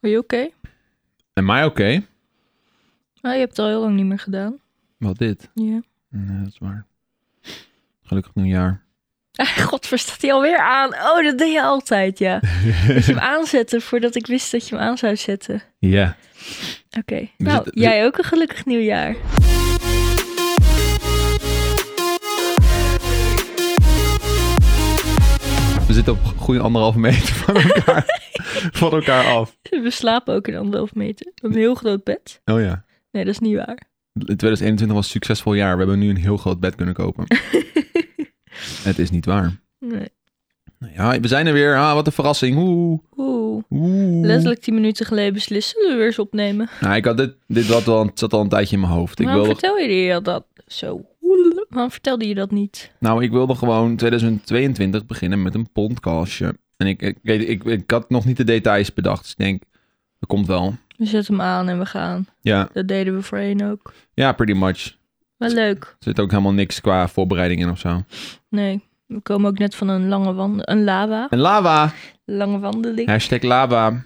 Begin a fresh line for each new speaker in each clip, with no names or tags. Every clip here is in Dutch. Are you okay?
Am I okay?
Ah, je hebt het al heel lang niet meer gedaan.
Wat dit?
Ja.
Nee, dat is waar. Gelukkig nieuwjaar.
Ah, Godver, staat hij alweer aan? Oh, dat deed je altijd, ja. Dat je hem aanzette voordat ik wist dat je hem aan zou zetten.
Ja.
Oké. Nou,
zitten-
jij ook een gelukkig nieuwjaar.
We zitten op goede anderhalve meter van elkaar, van elkaar af.
We slapen ook in anderhalf meter. We hebben een heel groot bed.
Oh ja.
Nee, dat is niet waar.
2021 was een succesvol jaar. We hebben nu een heel groot bed kunnen kopen. Het is niet waar. Nou
Nee.
Ja, we zijn er weer. Ah, wat een verrassing. Oeh.
Oeh.
Oeh.
Letterlijk tien minuten geleden beslissen we weer eens opnemen.
Nou, ik had dit, dit had al, zat al een tijdje in mijn hoofd. Ik
Waarom
wilde,
vertel je je dat zo? Waarom vertelde je dat niet?
nou, ik wilde gewoon 2022 beginnen met een podcastje. En ik, ik, weet- ik, ik had nog niet de details bedacht. Dus ik denk, dat komt wel.
We zetten hem aan en we gaan.
Ja,
Dat deden we voorheen ook.
ja pretty much.
Wel leuk.
Er zit ook helemaal niks qua voorbereiding in of zo.
Nee, we komen ook net van een lange wand, een lava,
En lava.
lange wandeling.
Hashtag lava.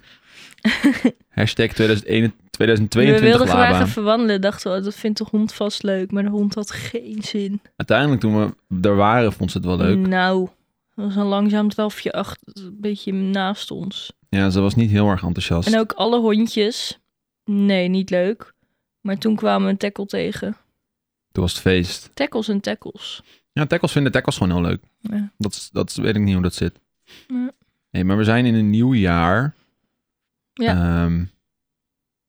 Hashtag 2021
we
2022
wilden graag
lava.
even wandelen, dachten we, oh, dat vindt de hond vast leuk, maar de hond had geen zin.
Uiteindelijk toen we er waren, vond ze het wel leuk.
Nou, dat was een langzaam drafje achter, een beetje naast ons.
Ja, ze was niet heel erg enthousiast.
En ook alle hondjes, nee, niet leuk. Maar toen kwamen we een tackle tegen.
Toen was het feest.
Tackles en tackles.
Ja, tackles vinden tackles gewoon heel leuk.
Ja.
Dat, is- dat is- weet ik niet hoe dat zit.
Ja.
Nee, maar we zijn in een nieuw jaar. Ja.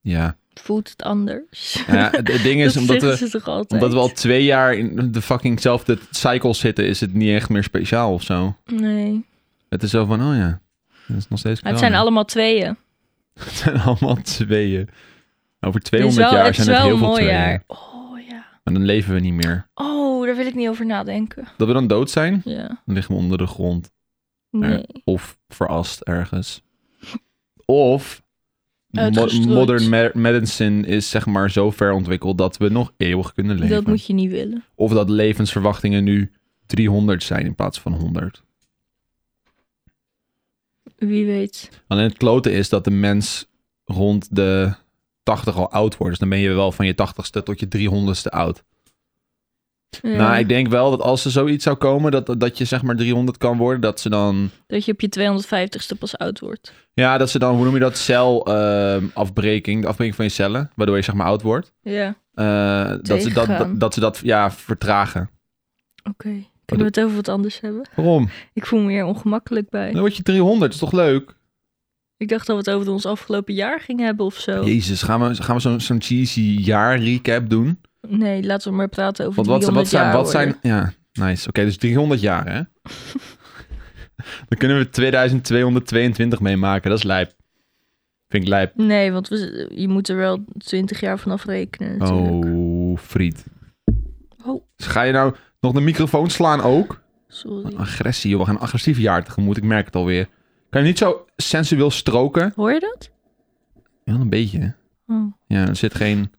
ja.
Voelt het anders?
Nou ja, het, het ding is,
dat
omdat
zeggen
we,
ze toch altijd?
omdat we al twee jaar in de fuckingzelfde cycle zitten, is het niet echt meer speciaal of zo.
Nee,
Het is zo van, oh ja, dat is nog steeds
maar het
corona.
zijn allemaal tweeën.
Het zijn allemaal tweeën. Over
Het is
200
wel,
jaar
het is
zijn het
wel
heel
een
veel
mooi
tweeën.
jaar. Oh ja.
Maar dan leven we niet meer.
Oh, daar wil ik niet over nadenken.
Dat we dan dood zijn,
Ja.
dan liggen we onder de grond.
Nee.
Of verast ergens. Of mo-
Uitgestrooid.
modern me- medicine is zeg maar zo ver ontwikkeld dat we nog eeuwig kunnen leven.
Dat moet je niet willen.
Of dat levensverwachtingen nu 300 zijn in plaats van 100.
Wie weet.
Alleen het klote is dat de mens rond de 80 al oud wordt. Dus dan ben je wel van je 80ste tot je 300ste oud.
Ja.
Nou, ik denk wel dat als er zoiets zou komen, dat, dat je zeg maar 300 kan worden, dat ze dan...
Dat je op je 250ste pas oud wordt.
Ja, dat ze dan, hoe noem je dat, celafbreking, afbreking, de afbreking van je cellen, waardoor je zeg maar oud wordt.
Ja,
Eh, dat, ze dat,
Tegengaan.
dat, dat ze dat, ja, vertragen.
oké. Kunnen we het over wat anders hebben?
Waarom?
Ik voel me hier ongemakkelijk bij.
Dan word je 300, is toch leuk?
Ik dacht dat we het over ons afgelopen jaar gingen hebben of zo.
Jezus, gaan we, gaan we zo'n zo'n cheesy jaar recap doen?
Nee, laten we maar praten over
Want wat,
300
wat zijn,
jaar
wat zijn...
worden.
Ja, nice. Oké, dus 300 jaar, hè? dan kunnen we 2222 meemaken, dat is lijp. Vind ik lijp.
Nee, want we, je moet er wel 20 jaar vanaf rekenen natuurlijk.
Oh, friet.
Oh,
Dus ga je nou nog de microfoon slaan ook?
sorry.
Agressie, joh. We gaan een agressief jaar tegemoet. Ik merk het alweer. Kan je niet zo sensueel stroken?
Hoor je dat?
Wel een beetje.
Oh.
Ja, er zit geen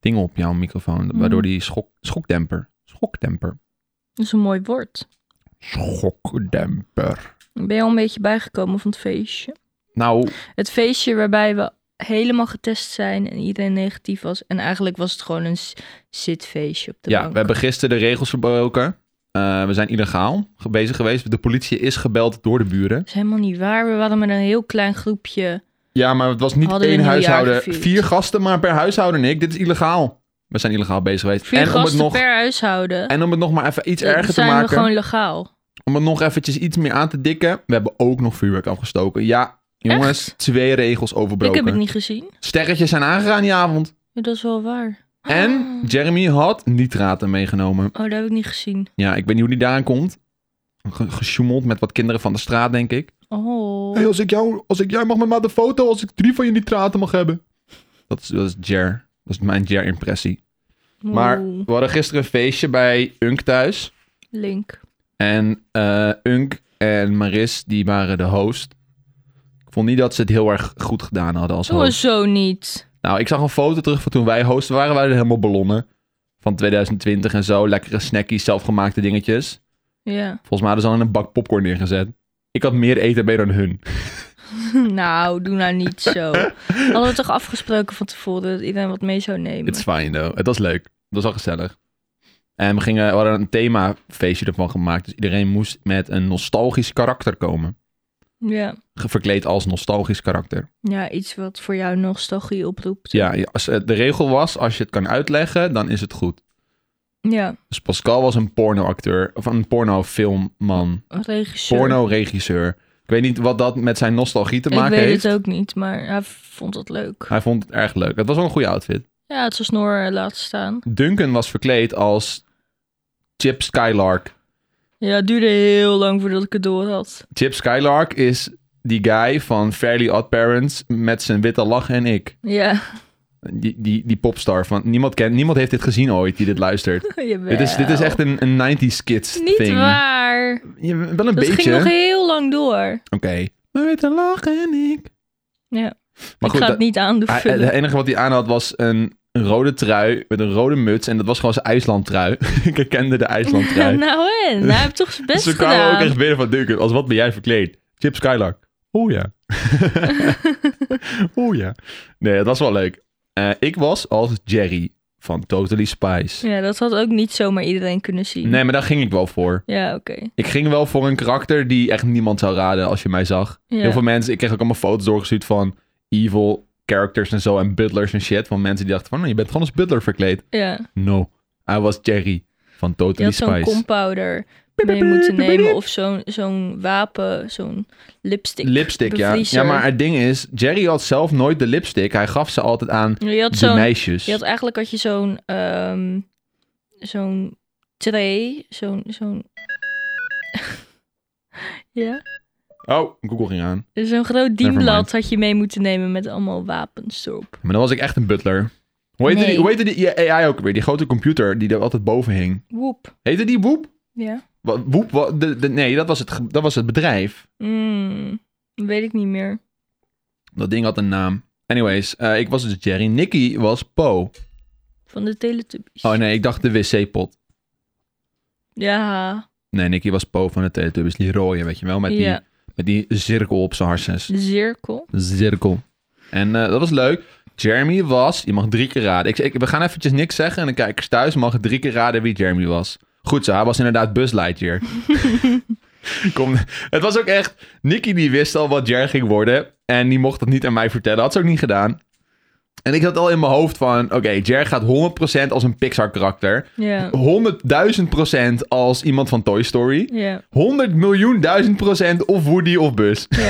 ding op jouw microfoon.
Mm.
Waardoor die schok, schokdemper. Schokdemper.
Dat is een mooi woord.
Schokdemper.
Ben je al een beetje bijgekomen van het feestje?
Nou,
Het feestje waarbij we helemaal getest zijn en iedereen negatief was. En eigenlijk was het gewoon een s- zitfeestje op de
ja,
bank.
we hebben gisteren de regels verbroken. Eh, we zijn illegaal ge- bezig geweest. De politie is gebeld door de buren.
Dat is helemaal niet waar. We waren met een heel klein groepje.
Ja, maar het was niet
Hadden we
één
een heel jaar
huishouden.
gevierd.
Vier gasten maar per huishouden, Nick. Dit is illegaal. We zijn illegaal bezig geweest.
Vier
en om het
gasten
nog
per huishouden.
En om het nog maar even iets
Dan
erger te
zijn
maken,
we gewoon legaal.
om het nog eventjes iets meer aan te dikken, we hebben ook nog vuurwerk afgestoken. Ja, jongens, twee regels
Ik heb het
overbroken.
niet gezien.
Sterretjes zijn aangegaan die avond.
Ja, dat is wel waar.
En
Ah.
Jeremy had nitraten meegenomen.
Oh, dat heb ik niet gezien.
Ja, ik weet niet hoe die daaraan komt. Ge gesjoemeld met wat kinderen van de straat, denk ik.
Oh.
Hey, als ik jou, als ik, jij mag met mij de foto als ik drie van je nitraten mag hebben. Dat is, dat is Jer. Dat is mijn Jer-impressie. Maar
Oeh.
we hadden gisteren een feestje bij Unk thuis.
Link.
En eh, Unk en Maris, die waren de host. Ik vond niet dat ze het heel erg goed gedaan hadden als host.
Sowieso niet.
Nou, ik zag een foto terug van toen wij host waren. Waren er helemaal ballonnen van 2020 en zo. Lekkere snackies, zelfgemaakte dingetjes.
Ja.
Volgens mij hadden ze al in een bak popcorn neergezet. Ik had meer eten bij dan hun.
nou, doe nou niet zo. Hadden we toch afgesproken van tevoren dat iedereen wat mee zou nemen?
It's fine though. Het was leuk. Het was al gezellig. En we, gingen, we hadden een themafeestje ervan gemaakt. Dus iedereen moest met een nostalgisch karakter komen.
Ja.
Ge- Verkleed als nostalgisch karakter.
ja, iets wat voor jou nostalgie oproept.
Ja, je- als, eh, de regel was, als je het kan uitleggen, dan is het goed.
Ja,
Dus Pascal was een pornoacteur, of een pornofilmman,
een regisseur.
pornoregisseur. Ik weet niet wat dat met zijn nostalgie te
Ik
maken
weet
heeft.
het ook niet, maar hij vond het leuk.
Hij vond het erg leuk. Het was wel een goede outfit.
Ja, het was Noor eh, laten staan.
Duncan was verkleed als Chip Skylark.
Ja, het duurde heel lang voordat ik het door had.
Chip Skylark is die guy van Fairly Odd Parents met zijn witte lach en ik.
Ja,
Die, die, die popstar. Van, niemand, kent, niemand heeft dit gezien ooit die dit luistert.
jawel.
Dit is, dit is echt een, een 90s kids
Niet
thing.
waar.
Ja, wel een
Dat
beetje.
ging nog
Oké.
heel lang door.
Mijn witte lach en ik.
Ja.
Maar
ik ga het
goed, dat, Ah, eh,
niet aan doen.
hij-
vullen.
het enige wat hij aan had was een rode trui met een rode muts. En dat was gewoon zijn IJsland trui. ik herkende de IJsland trui.
nou en, hij heeft toch zijn best
dus we eh, kwamen
gedaan.
ook echt binnen van Duncan. Als wat ben jij verkleed? Chip Skylark. Oh ja. oh ja. Nee, dat was wel leuk. Eh, ik was als Jerry van Totally Spice.
Ja, dat had ook niet zomaar iedereen kunnen zien.
Nee, maar daar ging ik wel voor.
Ja, oké.
Ik ging wel voor een karakter die echt niemand zou raden als je mij zag.
Ja.
Heel veel mensen, ik kreeg ook allemaal foto's doorgestuurd van evil characters en zo en butlers en shit. Van mensen die dachten van, "Nou, je bent gewoon als butler verkleed.
ja.
No, I was Jerry van
Je
Totally
had zo'n
Spice.
compounder mee moeten nemen of zo'n zo'n wapen, zo'n lipstick.
Lipstick, ja.
bevriezer.
Ja, maar het ding is, Jerry had zelf nooit de lipstick. Hij gaf ze altijd aan
je had
de
zo'n
meisjes.
Je had eigenlijk had je zo'n ehm zo'n tray, zo'n zo'n ja,
Oh, Google ging aan.
zo'n groot
Nevermind.
dienblad had je mee moeten nemen met allemaal wapens erop.
Maar dan was ik echt een butler. Hoe heette,
Nee.
die, hoe heette die ja, AI ook weer? Die grote computer die er altijd boven hing.
Woep.
Heette die Woep?
Ja.
Wa- Woep? wa- de, de- nee, dat was, het, ge- dat was het bedrijf.
Mm, weet ik niet meer.
Dat ding had een naam. Anyways, eh, ik was dus Jerry. Nicky was Po.
Van de Teletubbies.
Oh nee, ik dacht de wc-pot.
Ja.
Nee, Nicky was Po van de Teletubbies. Die rode, weet je wel. Met,
ja.
die, met die cirkel op zijn harses.
De cirkel.
Cirkel. En eh, dat was leuk. Jeremy was, je mag drie keer raden. Ik, ik- we gaan eventjes niks zeggen en de kijkers thuis mogen drie keer raden wie Jeremy was. Goed zo, hij was inderdaad Buzz Lightyear. Kom, het was ook echt, Nicky die wist al wat Jer ging worden en die mocht dat niet aan mij vertellen. Had ze ook niet gedaan. En ik had al in mijn hoofd van, oké, Jer gaat 100% als een Pixar karakter.
Ja.
100.000% als iemand van Toy Story.
Ja.
100 miljoen duizend procent of Woody of Buzz.
Ja.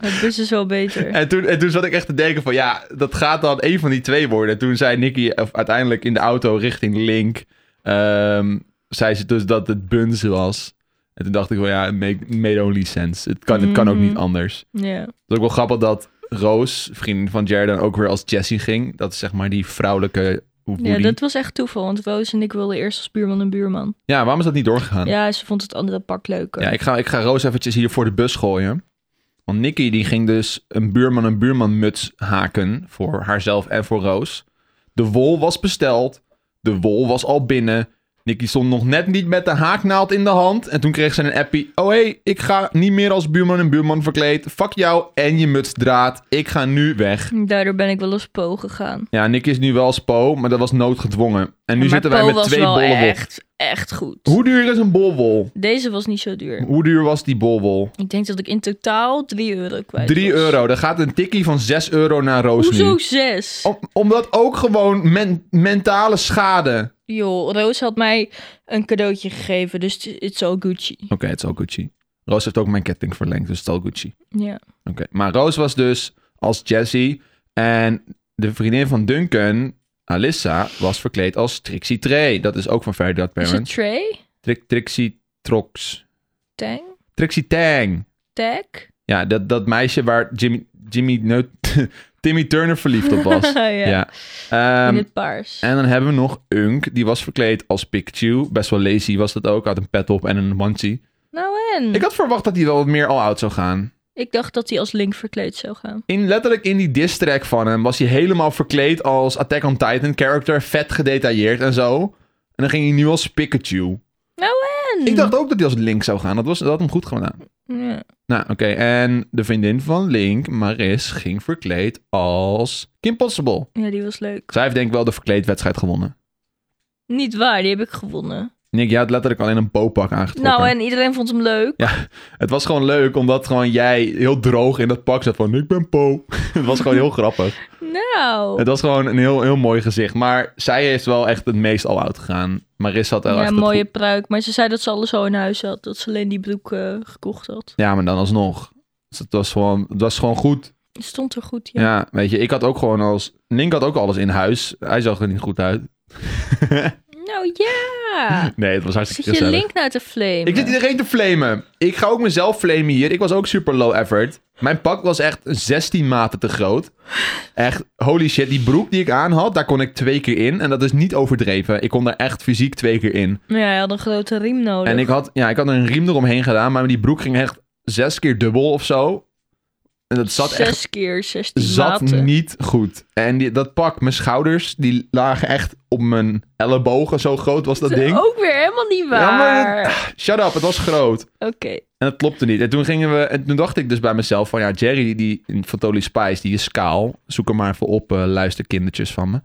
Het bus is wel beter.
En toen, en toen zat ik echt te denken van ja, dat gaat dan één van die twee worden. En toen zei Nicky of uiteindelijk in de auto richting Link, ehm, zei ze dus dat het Buns was. En toen dacht ik van ja, it make- made only sense. Het kan, het kan ook
Mhm.
niet anders.
Ja.
Het is ook wel grappig dat Roos, vriendin van Jer, dan ook weer als Jessie ging. Dat is zeg maar die vrouwelijke Woody.
Ja,
Ja,
dat was echt toeval, want Roos en ik wilden eerst als buurman en buurman.
waarom is dat niet doorgegaan? Ja,
Ja, ze vond het andere pak leuker.
ik, ga, ik ga Roos eventjes hier voor de bus gooien. Want Nicky die ging dus een buurman en buurman muts haken voor haarzelf en voor Roos. De wol was besteld. De wol was al binnen. Nicky stond nog net niet met de haaknaald in de hand. En toen kreeg ze een appie. Oh hé, hey, ik ga niet meer als buurman en buurman verkleed. Fuck jou en je mutsdraad. Ik ga nu weg.
Daardoor ben ik wel eens Po gegaan.
Ja, Nicky is nu wel spo, maar dat was noodgedwongen. En nu
maar
zitten wij
Po
met
was
twee
wel
bollen wol.
echt, echt goed.
Hoe duur is een bolwol?
Deze was niet zo duur.
Hoe duur was die bolwol?
Ik denk dat ik in totaal 3 euro kwijt
3
was.
euro. Dan gaat een tikkie van 6 euro naar Roos
Hoezo
nu. Oh.
6?
Om- omdat ook gewoon men- mentale schade. Oké,
Joh, Roos had mij een cadeautje gegeven, dus t- it's all Gucci.
het is al Gucci. Roos heeft ook mijn ketting verlengd, dus het is al Gucci.
Ja.
Oké, maar Roos was dus als Jessie. En de vriendin van Duncan, Alyssa, was verkleed als Trixie Trey. Dat is ook van Fairly Odd
Is het
Parents.
Trey?
Tri- Trixie Trox.
Tang?
Trixie Tang.
Tag?
Ja, dat, dat meisje waar Jimmy, Jimmy Neut, Timmy Turner verliefd op was.
ja.
ja.
In
Ehm,
het paars.
en dan hebben we nog Unk, die was verkleed als Pikachu. Best wel lazy was dat ook, had een pet op en een onesie.
Nou en?
Ik
Ik,
had verwacht dat hij wel wat meer all-out zou gaan.
dacht dat hij als Link verkleed zou gaan.
In, letterlijk in die diss track van hem was hij helemaal verkleed als Attack on Titan character. Vet gedetailleerd en zo. En dan ging hij nu als Pikachu.
Nou en?
Ik dacht ook dat hij als Link zou gaan, dat, was, dat had hem goed gedaan.
Ja.
Nou, oké. En de vriendin van Link, Maris, ging verkleed als Kim Possible.
Ja, die was leuk.
Zij heeft denk ik wel de verkleedwedstrijd gewonnen.
Niet waar, die heb ik gewonnen.
Nick, jij had letterlijk alleen een popak aangetrokken.
Nou, en iedereen vond hem leuk.
Ja, het was gewoon leuk, omdat gewoon jij heel droog in dat pak zat van... Ik ben Po. het was gewoon heel grappig.
Nou.
Het was gewoon een heel, heel mooi gezicht. Maar zij is wel echt het meest all-out gegaan. Maris had wel
Ja,
echt
een
het
mooie
goed-
pruik. Maar ze zei dat ze alles al in huis had. Dat ze alleen die broek eh, gekocht had.
Ja, maar dan alsnog. Dus het, was gewoon, het was gewoon goed.
Het stond er goed,
Ja.
ja.
weet je. Ik had ook gewoon als... Link had ook alles in huis. Hij zag er niet goed uit.
Nou ja.
Nee, het was
Zit
hartstikke
je
gezellig.
link naar te flamen?
Ik zit iedereen te flamen. Ik ga ook mezelf flamen hier. Ik was ook super low effort. Mijn pak was echt 16 maten te groot. Echt, holy shit. Die broek die ik aan had, daar kon ik twee keer in. En dat is niet overdreven. Ik kon daar echt fysiek twee keer in.
Ja, hij had een grote riem nodig.
En ik had, ja, ik had een riem eromheen gedaan, maar die broek ging echt zes keer dubbel of zo. En dat zat
Zes
echt
keer 16
zat
maten.
niet goed. En die, dat pak, mijn schouders, die lagen echt op mijn ellebogen. Zo groot was dat
Dat is
ding.
Ook weer helemaal niet
Ja, maar
waar.
Shut up, het was groot.
Oké.
En dat klopte niet. En toen gingen we. En toen dacht ik dus bij mezelf: van ja, Jerry die van Tolly Spice, die is kaal. Zoek hem maar even op, eh luisterkindertjes van me.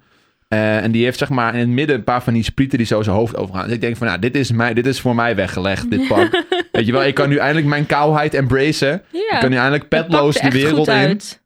Eh, en die heeft zeg maar in het midden een paar van die sprieten die zo zijn hoofd overgaan. Dus ik denk van nou, dit is, mij, dit is voor mij weggelegd, dit pak. Weet je wel, ik kan nu eindelijk mijn kaalheid embracen. Ik
Ja.
kan nu eindelijk
dat pakte
petloos de
echt
wereld
goed
in.
uit.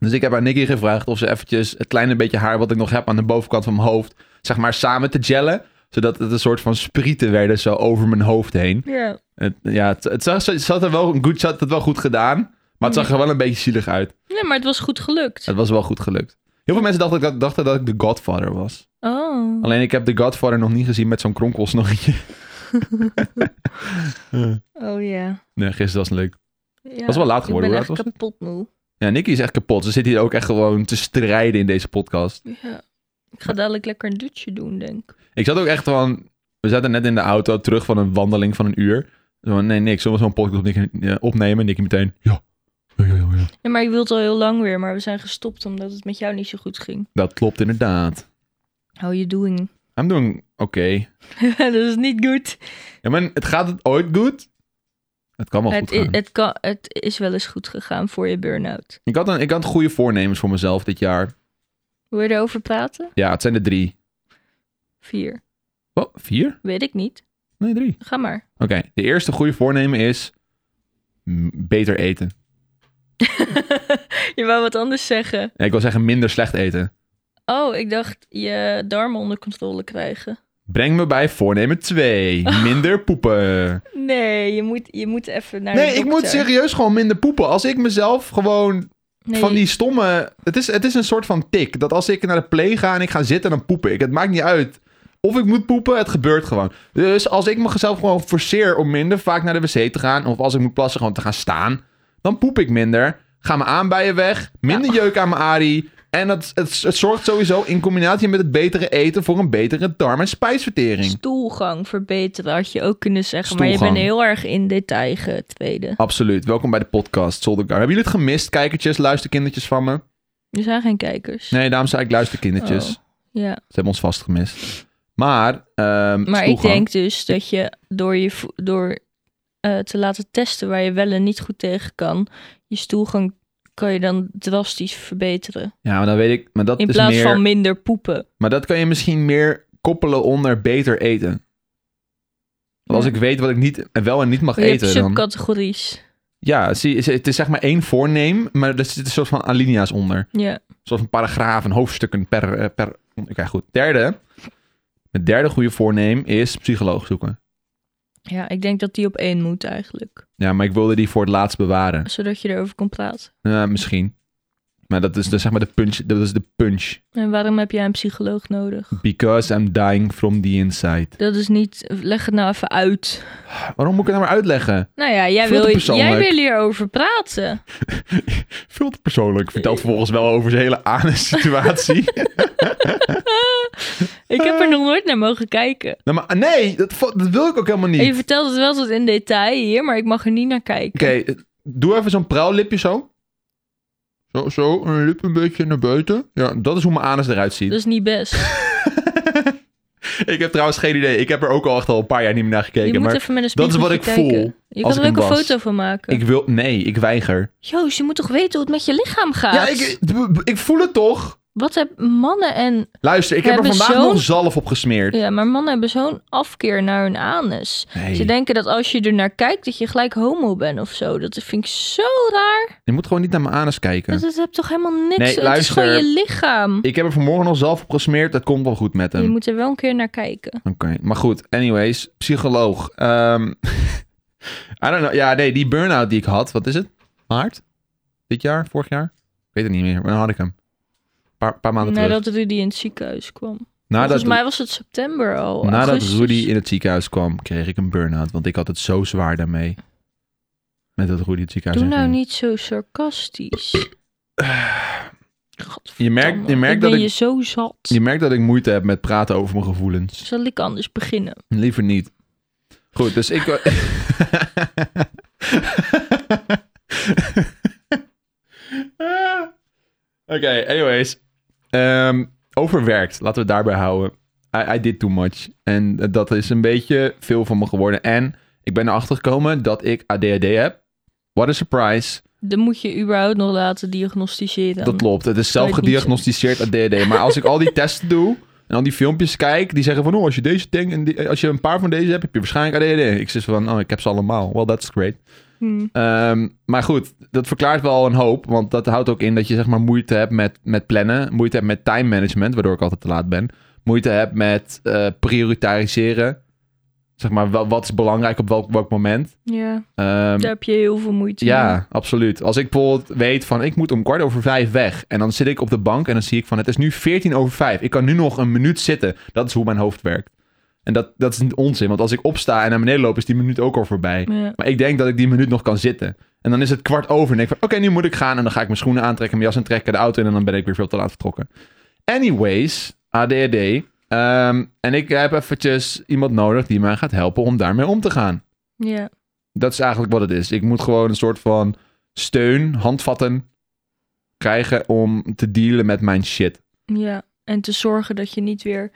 Dus ik heb aan Nicky gevraagd of ze eventjes het kleine beetje haar wat ik nog heb aan de bovenkant van mijn hoofd, zeg maar samen te gellen. Zodat het een soort van sprieten werden zo over mijn hoofd heen.
Ja.
Het, ja, het, het, zag, het, zat er wel een goed, zat het wel goed gedaan, maar het zag er wel een beetje zielig uit.
Nee, maar het was goed gelukt.
Het was wel goed gelukt. Heel veel mensen dachten, dat- dachten dat ik de Godfather was.
Oh.
Alleen ik heb de Godfather nog niet gezien met zo'n kronkelsnorretje.
Oh ja.
Nee, gisteren was het leuk.
ja.
was wel laat
Ik
geworden.
ben
Hoe
echt
laat was het?
kapot moe.
Ja, Nicky is echt kapot. Ze zit hier ook echt gewoon te strijden in deze podcast.
Ja. Ik ga dadelijk lekker een dutje doen, denk ik.
Ik zat ook echt van... We zaten net in de auto terug van een wandeling van een uur. Zo van, nee, niks. Zullen we zo'n podcast opnieuw- eh, opnemen? Nicky meteen, ja. Ja, ja, ja, ja.
Ja, maar ik wilde al heel lang weer, maar we zijn gestopt omdat het met jou niet zo goed ging.
Dat klopt inderdaad.
How you doing?
I'm doing oké.
dat is niet goed.
Ja, maar het gaat het ooit goed? Het kan wel
Het,
goed
i-
gaan.
het, kan, het is wel eens goed gegaan voor je burn-out.
Ik, had een, ik had goede voornemens voor mezelf dit jaar.
Wil je erover praten?
Ja, het zijn er drie.
Vier.
Wat? Vier?
Weet ik niet.
Nee, drie.
Ga maar.
Oké, de eerste goede voornemen is mm, beter eten.
je wou wat anders zeggen.
Nee, ik wil zeggen minder slecht eten.
Oh, ik dacht je darmen onder controle krijgen.
Breng me bij voornemen twee. Minder poepen.
Nee, je moet, je moet even naar
Nee,
de
ik
dokter.
moet serieus gewoon minder poepen. Als ik mezelf gewoon
Nee,
van die stomme... Het is, het is een soort van tik. Dat als ik naar de play ga en ik ga zitten, dan poep ik. Het maakt niet uit. Of ik moet poepen, het gebeurt gewoon. Dus als ik mezelf gewoon forceer om minder vaak naar de wc te gaan... of als ik moet plassen gewoon te gaan staan... dan poep ik minder. Ga mijn aanbijen weg. Minder jeuk aan mijn arie. En het, het, het zorgt sowieso in combinatie met het betere eten... voor een betere darm- en spijsvertering.
Stoelgang verbeteren had je ook kunnen zeggen. Maar je
Stoelgang.
bent heel erg in detail getreden.
Absoluut. Welkom bij de podcast Zoldergaard. Hebben jullie het gemist, kijkertjes, luisterkindertjes van me?
Er zijn geen kijkers.
Nee, daarom zei ik luisterkindertjes.
Oh, Ja,
Ze hebben ons vastgemist. Maar, ehm,
maar ik
stoelgang.
denk dus dat je door, je vo- door eh, te laten testen waar je wel en niet goed tegen kan, je stoelgang kan je dan drastisch verbeteren.
Ja, maar dan weet ik. Maar dat,
In
is
plaats
meer,
van minder poepen.
maar dat kan je misschien meer koppelen onder beter eten. Want
Ja.
als ik weet wat ik niet, en wel en niet mag
Je hebt
eten, dan...
subcategories.
Ja, zie, is- het is zeg maar één voorneem, maar er zit een soort van alinea's onder.
Ja.
Zoals een paragraaf, een hoofdstukken per... eh, per Oké, goed. Derde. Het derde goede voorneem is psycholoog zoeken.
ja, ik denk dat die op één moet eigenlijk.
Ja, maar ik wilde die voor het laatst bewaren.
Zodat je erover kon praten.
Eh, misschien. Maar dat is dus zeg maar de punch. Dat is de punch.
En waarom heb jij een psycholoog nodig?
Because I'm dying from the inside.
Dat is niet... Leg het nou even uit.
Waarom moet ik het nou maar uitleggen?
Nou ja, jij
Veel te
wil, jij
persoonlijk.
wil hierover praten.
Veel te persoonlijk. Vertelt vervolgens wel over zijn hele anus-situatie.
Ik heb
Eh.
er nog nooit naar mogen kijken.
nou, maar nee, dat, vo- dat wil ik ook helemaal
En je
niet.
vertelt het wel tot in detail hier, maar ik mag er niet naar kijken.
Oké, eh, doe even zo'n pruillipje zo. Zo, zo, een lip een beetje naar buiten. Ja, dat is hoe mijn anus eruit ziet.
Dat is niet best.
Ik heb trouwens geen idee. Ik heb er ook al echt al een paar jaar niet meer naar gekeken.
je moet
maar
even met een
dat is wat ik
spiegeltje kijken.
voel
Je
als
kan er
ik
ook
hem
een
was.
foto van maken.
ik wil... Nee, ik weiger.
Joost, je moet toch weten hoe het met je lichaam gaat?
Ja, ik, b- b- ik voel het toch?
Wat hebben mannen en...
Luister, ik
We
heb er
hebben
vandaag
zo'n-
nog zalf op gesmeerd.
Ja, maar mannen hebben zo'n afkeer naar hun anus.
Nee.
Ze denken dat als je er naar kijkt, dat je gelijk homo bent of zo. Dat vind ik zo raar.
Je moet gewoon niet naar mijn anus kijken.
Dat, dat heeft toch helemaal niks...
Nee,
Het is
luister.
gewoon je lichaam.
Ik heb er vanmorgen nog zalf op gesmeerd. Dat komt wel goed met hem.
Je moet er wel een keer naar kijken.
Oké, maar goed. Anyways, psycholoog. Ehm I don't know. Ja, nee, die burn-out die ik had. Wat is het? Maart? Dit jaar? Vorig jaar? Ik weet het niet meer. Maar dan had ik hem. Paar, paar maanden terug.
Nadat Rudy in het ziekenhuis kwam.
Nadat,
Volgens mij was het september al.
nadat
augustus.
Rudy in het ziekenhuis kwam, kreeg ik een burn-out. Want ik had het zo zwaar daarmee. Met dat Rudy het ziekenhuis
Doe nou
inging.
niet zo sarcastisch.
Je merkt, je, merkt
ben
dat
je
ik,
zo zat.
je merkt dat ik moeite heb met praten over mijn gevoelens.
Zal ik anders beginnen?
Liever niet. Goed, dus ik. Oké, anyways. Ehm, overwerkt, laten we het daarbij houden. I, I did too much. En dat is een beetje veel van me geworden. En ik ben erachter gekomen dat ik ADHD heb. What a surprise.
Dan moet je überhaupt nog laten diagnosticeren.
Dat klopt. Het is
Zou
zelf
ik niet
gediagnosticeerd ADHD. Maar als ik al die testen doe en al die filmpjes kijk, die zeggen van, oh, als je deze ding en die- als je een paar van deze hebt, heb je waarschijnlijk ADHD. Ik zeg van, oh, ik heb ze allemaal. Well, that's great.
Hm.
Ehm, maar goed, dat verklaart wel een hoop, want dat houdt ook in dat je zeg maar moeite hebt met, met plannen, moeite hebt met time management, waardoor ik altijd te laat ben, moeite hebt met eh prioritariseren. Zeg maar, wel, wat is belangrijk op welk, welk moment.
Ja,
Ehm,
daar heb je heel veel moeite mee.
ja, absoluut. Als ik bijvoorbeeld weet van ik moet om kwart over vijf weg. En dan zit ik op de bank en dan zie ik van het is nu 14 over vijf. Ik kan nu nog een minuut zitten. Dat is hoe mijn hoofd werkt. En dat, dat is niet onzin. Want als ik opsta en naar beneden loop is die minuut ook al voorbij.
Ja.
Maar ik denk dat ik die minuut nog kan zitten. En dan is het kwart over en ik van oké nu moet ik gaan. En dan ga ik mijn schoenen aantrekken, mijn jas aantrekken, de auto in. En dan ben ik weer veel te laat vertrokken. Anyways, ADHD. Ehm, en ik heb eventjes iemand nodig die mij gaat helpen om daarmee om te gaan.
ja.
Dat is eigenlijk wat het is. Ik moet gewoon een soort van steun, handvatten krijgen om te dealen met mijn shit.
Ja, en te zorgen dat je niet weer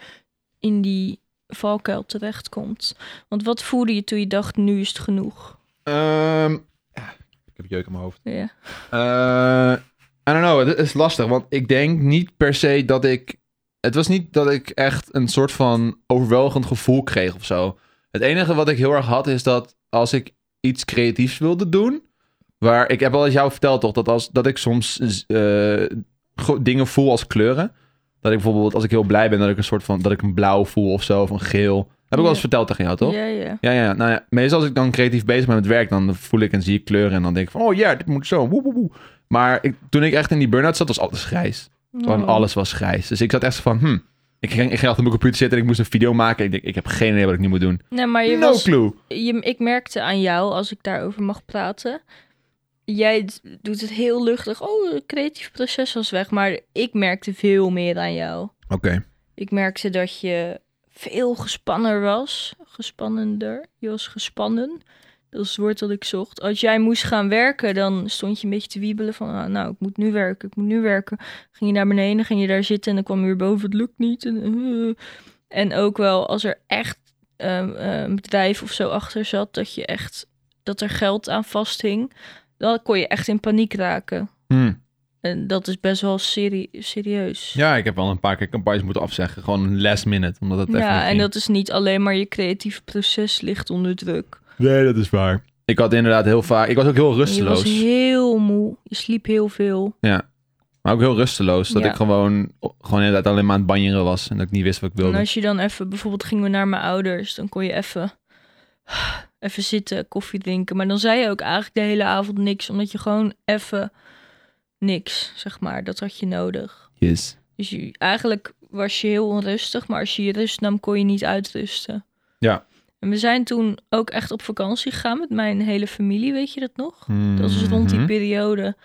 in die valkuil terechtkomt. Want wat voelde je toen je dacht, nu is het genoeg?
Ehm, ah, ik heb jeuk in mijn hoofd.
Ja.
Eh I don't know, het is lastig, want ik denk niet per se dat ik... Het was niet dat ik echt een soort van overweldigend gevoel kreeg of zo. Het enige wat ik heel erg had is dat als ik iets creatiefs wilde doen... Waar, ik heb al eens jou verteld toch, dat, als, dat ik soms eh, go- dingen voel als kleuren. Dat ik bijvoorbeeld, als ik heel blij ben, dat ik een soort van, dat ik een blauw voel of zo, of een geel. Heb ik wel eens
Ja.
verteld tegen jou, toch?
Ja, ja.
Ja, ja, nou ja, meestal als ik dan creatief bezig ben met werk, dan voel ik en zie ik kleuren en dan denk ik van, oh ja, dit moet zo, woe, woe, woe. Maar ik, toen ik echt in die burn-out zat, was alles grijs. Gewoon
Oh.
alles was grijs. Dus ik zat echt zo van, hm, ik ging, ik ging achter mijn computer zitten en ik moest een video maken. Ik denk, ik heb geen idee wat ik nu moet doen.
Nee, maar je
no
was
clue.
je, ik merkte aan jou, als ik daarover mag praten. Jij d- doet het heel luchtig. Oh, het creatief proces was weg. Maar ik merkte veel meer aan jou.
Oké.
Ik merkte dat je veel gespanner was. Gespannender. Je was gespannen. Dat is het woord dat ik zocht. Als jij moest gaan werken, dan stond je een beetje te wiebelen van... ah, nou, ik moet nu werken, ik moet nu werken. Ging je naar beneden, ging je daar zitten en dan kwam je weer boven. Het lukt niet. En, eh. en ook wel als er echt ehm, eh, een bedrijf of zo achter zat... dat, je echt, dat er geld aan vasthing. Dan kon je echt in paniek raken.
Hm.
En dat is best wel serie- serieus.
Ja, ik heb al een paar keer campagnes moeten afzeggen. Gewoon last minute, omdat het even
Ja,
niet
en
ging.
dat is niet alleen maar je creatief proces ligt onder druk.
Nee, dat is waar. Ik had inderdaad heel vaak... Ik was ook heel
Je was
rusteloos.
heel moe. Je sliep heel veel.
Maar ook heel rusteloos. Dat
Ja.
ik gewoon, gewoon inderdaad alleen maar aan het banjeren was. En dat ik niet wist wat ik wilde.
En als je dan even, bijvoorbeeld gingen we naar mijn ouders, dan kon je even, even zitten, koffie drinken. Maar dan zei je ook eigenlijk de hele avond niks, omdat je gewoon even niks, zeg maar. Dat had je nodig.
Yes.
Dus je, eigenlijk was je heel onrustig, maar als je je rust nam, kon je niet uitrusten.
Ja.
En we zijn toen ook echt op vakantie gegaan met mijn hele familie, weet je dat nog? Dat was rond die
Mhm.
periode.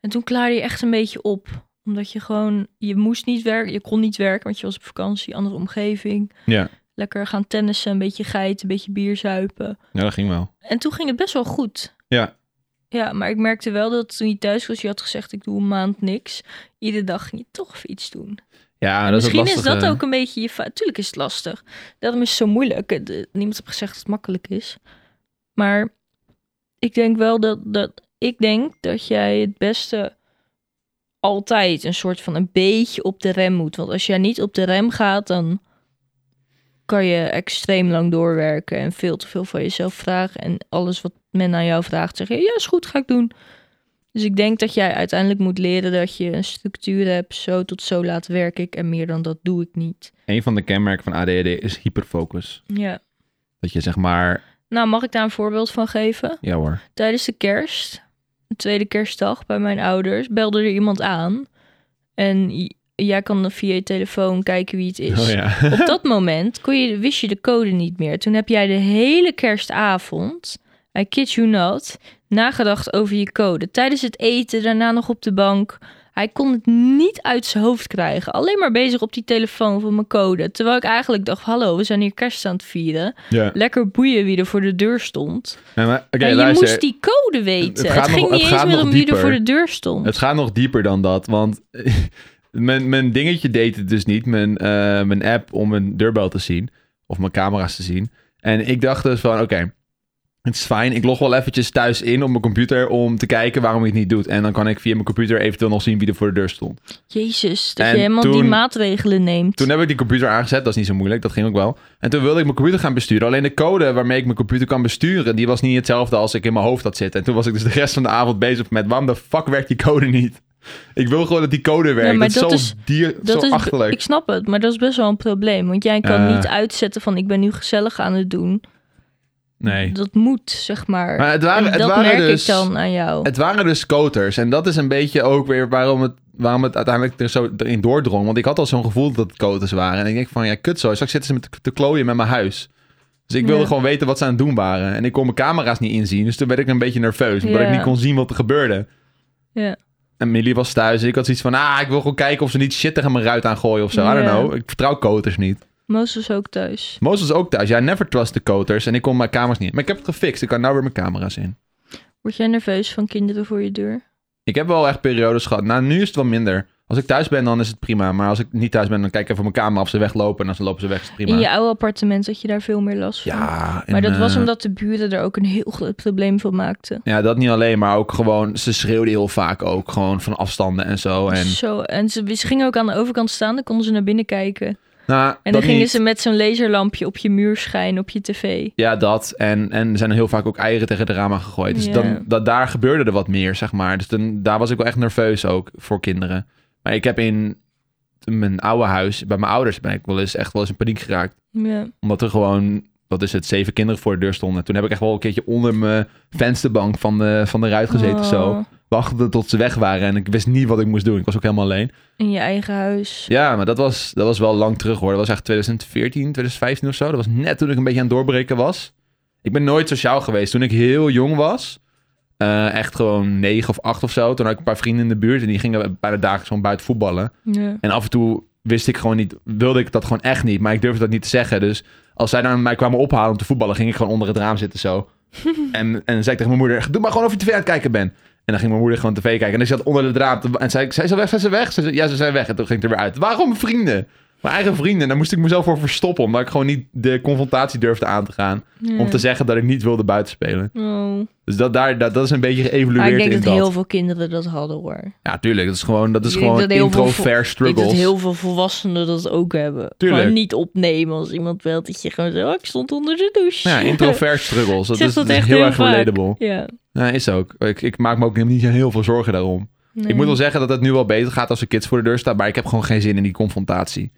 En toen klaarde je echt een beetje op. Omdat je gewoon, je moest niet werken, je kon niet werken, want je was op vakantie, andere omgeving.
Ja.
Lekker gaan tennissen, een beetje geiten, een beetje bier zuipen.
Ja, dat ging wel.
En toen ging het best wel goed.
Ja.
Ja, maar ik merkte wel dat toen je thuis was, je had gezegd ik doe een maand niks. Iedere dag ging je toch even iets doen.
Ja, dat
Misschien
is,
is,
het
dat
lastige.
ook een beetje je fout. Tuurlijk is het lastig. Daarom is het zo moeilijk. Het- eh, Niemand heeft gezegd dat het makkelijk is. Maar ik denk wel dat, dat ik denk dat jij het beste altijd een soort van een beetje op de rem moet. Want als jij niet op de rem gaat, dan kan je extreem lang doorwerken en veel te veel van jezelf vragen. En alles wat men aan jou vraagt, zeg je ja, is goed, ga ik doen. Dus ik denk dat jij uiteindelijk moet leren dat je een structuur hebt. Zo tot zo laat werk ik en meer dan dat doe ik niet.
Een van de kenmerken van ADHD is hyperfocus.
Ja.
Dat je zeg maar,
Nou, mag ik daar een voorbeeld van geven?
ja hoor.
Tijdens de kerst, de tweede kerstdag bij mijn ouders, belde er iemand aan. En j- jij kan dan via je telefoon kijken wie het is.
Oh ja.
Op dat moment kon je, wist je de code niet meer. Toen heb jij de hele kerstavond, I kid you not, nagedacht over je code. Tijdens het eten, daarna nog op de bank. Hij kon het niet uit zijn hoofd krijgen. Alleen maar bezig op die telefoon van mijn code. Terwijl ik eigenlijk dacht, hallo, we zijn hier kerst aan het vieren.
ja.
Lekker boeien wie er voor de deur stond.
Nee, maar, oké,
en je
luister.
moest die code weten.
Het
Het,
gaat
ging
nog-
niet
het
eens
gaat
meer
nog
om wie er
dieper.
voor de deur stond.
Het gaat nog dieper dan dat, want mijn, mijn dingetje deed het dus niet. Mijn, eh, mijn app om mijn deurbel te zien of mijn camera's te zien. En ik dacht dus van, oké, het is fijn. Ik log wel eventjes thuis in op mijn computer om te kijken waarom ik het niet doe. En dan kan ik via mijn computer eventueel nog zien wie er voor de deur stond.
Jezus, dat
En
je helemaal die
toen-
maatregelen neemt.
Toen heb ik die computer aangezet, dat is niet zo moeilijk, dat ging ook wel. En toen wilde ik mijn computer gaan besturen. Alleen de code waarmee ik mijn computer kan besturen, die was niet hetzelfde als ik in mijn hoofd had zitten. En toen was ik dus de rest van de avond bezig met, waarom de fuck werkt die code niet? Ik wil gewoon dat die code werkt.
maar
dat,
dat
is
is-
zo, dier,
Dat
zo
is,
achterlijk. Eh.
Ik snap het, maar dat is best wel een probleem. Want jij kan
Ja.
niet uitzetten van ik ben nu gezellig aan het doen.
Nee.
Dat moet, zeg maar.
Maar het
En
waren, het
dat
waren
merk
dus...
ik dan aan jou.
Het waren dus scooters. En dat is een beetje ook weer waarom het, waarom het uiteindelijk er zo in doordrong. Want ik had al zo'n gevoel dat het scooters waren. En ik denk van, ja, kut zo. Straks zitten ze met te klooien met mijn huis. Dus ik wilde
Ja.
gewoon weten wat ze aan het doen waren. En ik kon mijn camera's niet inzien. Dus toen werd ik een beetje nerveus. Omdat
Ja.
ik niet kon zien wat er gebeurde.
Ja.
En Millie was thuis. En ik had zoiets van, ah, ik wil gewoon kijken of ze niet shit tegen mijn ruit aan gooien of zo. I don't
Ja.
know. Ik vertrouw koters niet.
Moos was ook thuis.
Moos was ook thuis. Ja, never trust de koters. En ik kon mijn camera's niet. Maar ik heb het gefixt. Ik kan nou weer mijn camera's in.
Word jij nerveus van kinderen voor je deur?
Ik heb wel echt periodes gehad. Nou, nu is het wel minder. Als ik thuis ben, dan is het prima. Maar als ik niet thuis ben, dan kijk ik even op mijn kamer of ze weglopen. En als ze lopen ze weg, is het prima.
In je oude appartement had je daar veel meer last van.
ja, en,
maar dat was
eh,
omdat de buren er ook een heel groot probleem van maakten.
Ja, dat niet alleen, maar ook gewoon... Ze schreeuwden heel vaak ook, gewoon van afstanden en zo. Oh, En,
Zo, en ze, ze gingen ook aan de overkant staan, dan konden ze naar binnen kijken. En
nou,
dan
dat
gingen
niet.
ze met zo'n laserlampje op je muur schijnen, op je tv.
Ja, dat. En, en er zijn heel vaak ook eieren tegen de ramen gegooid. Dus
Ja.
dan, dat, daar gebeurde er wat meer, zeg maar. Dus dan, daar was ik wel echt nerveus ook voor kinderen. Maar ik heb in mijn oude huis, bij mijn ouders, ben ik wel eens echt wel eens in paniek geraakt.
Ja.
Omdat er gewoon, wat is het, zeven kinderen voor de deur stonden. Toen heb ik echt wel een keertje onder mijn vensterbank van de, van de ruit gezeten. Zo.
Oh,
Wachtte tot ze weg waren en ik wist niet wat ik moest doen. Ik was ook helemaal alleen.
In je eigen huis.
Ja, maar dat was, dat was wel lang terug hoor. Dat was echt 2014, 2015 of zo. Dat was net toen ik een beetje aan het doorbreken was. Ik ben nooit sociaal geweest. Toen ik heel jong was, eh, echt gewoon negen of acht of zo. Toen had ik een paar vrienden in de buurt en die gingen bijna dagelijks gewoon buiten voetballen.
Ja.
En af en toe wist ik gewoon niet, wilde ik dat gewoon echt niet. Maar ik durfde dat niet te zeggen. Dus als zij dan mij kwamen ophalen om te voetballen, ging ik gewoon onder het raam zitten zo. en, en dan zei ik tegen mijn moeder, doe maar gewoon of je tv aan het kijken bent. En dan ging mijn moeder gewoon tv kijken. En ik zat onder het raam. te- En zei ik, zijn ze weg, zijn ze weg? Ze zei, ja, ze zijn weg. En toen ging ik er weer uit. Waarom vrienden? Mijn eigen vrienden. Daar moest ik mezelf voor verstoppen. Omdat ik gewoon niet de confrontatie durfde aan te gaan.
Ja.
Om te zeggen dat ik niet wilde buitenspelen.
Oh.
Dus dat, daar, dat, dat is een beetje
Maar Ah, ik
geëvolueerd
denk
in
dat,
dat.
heel veel kinderen dat hadden hoor.
Ja, tuurlijk. Dat is gewoon, dat is
Ik denk
gewoon
dat heel veel vo-
introvert
Ik denk
struggles.
dat heel veel volwassenen dat ook hebben.
Tuurlijk.
Gewoon niet opnemen als iemand wel dat je gewoon zo, oh, ik stond onder de douche.
Nou Ja, introvert struggles. Dat
zeg
is,
dat
dat is
echt
heel,
heel
erg
vaak.
relatable.
Ja.
Ja, is ook. Ik, ik maak me ook niet heel veel zorgen daarom.
Nee.
Ik moet wel zeggen dat het nu wel beter gaat als er kids voor de deur staan. Maar ik heb gewoon geen zin in die confrontatie.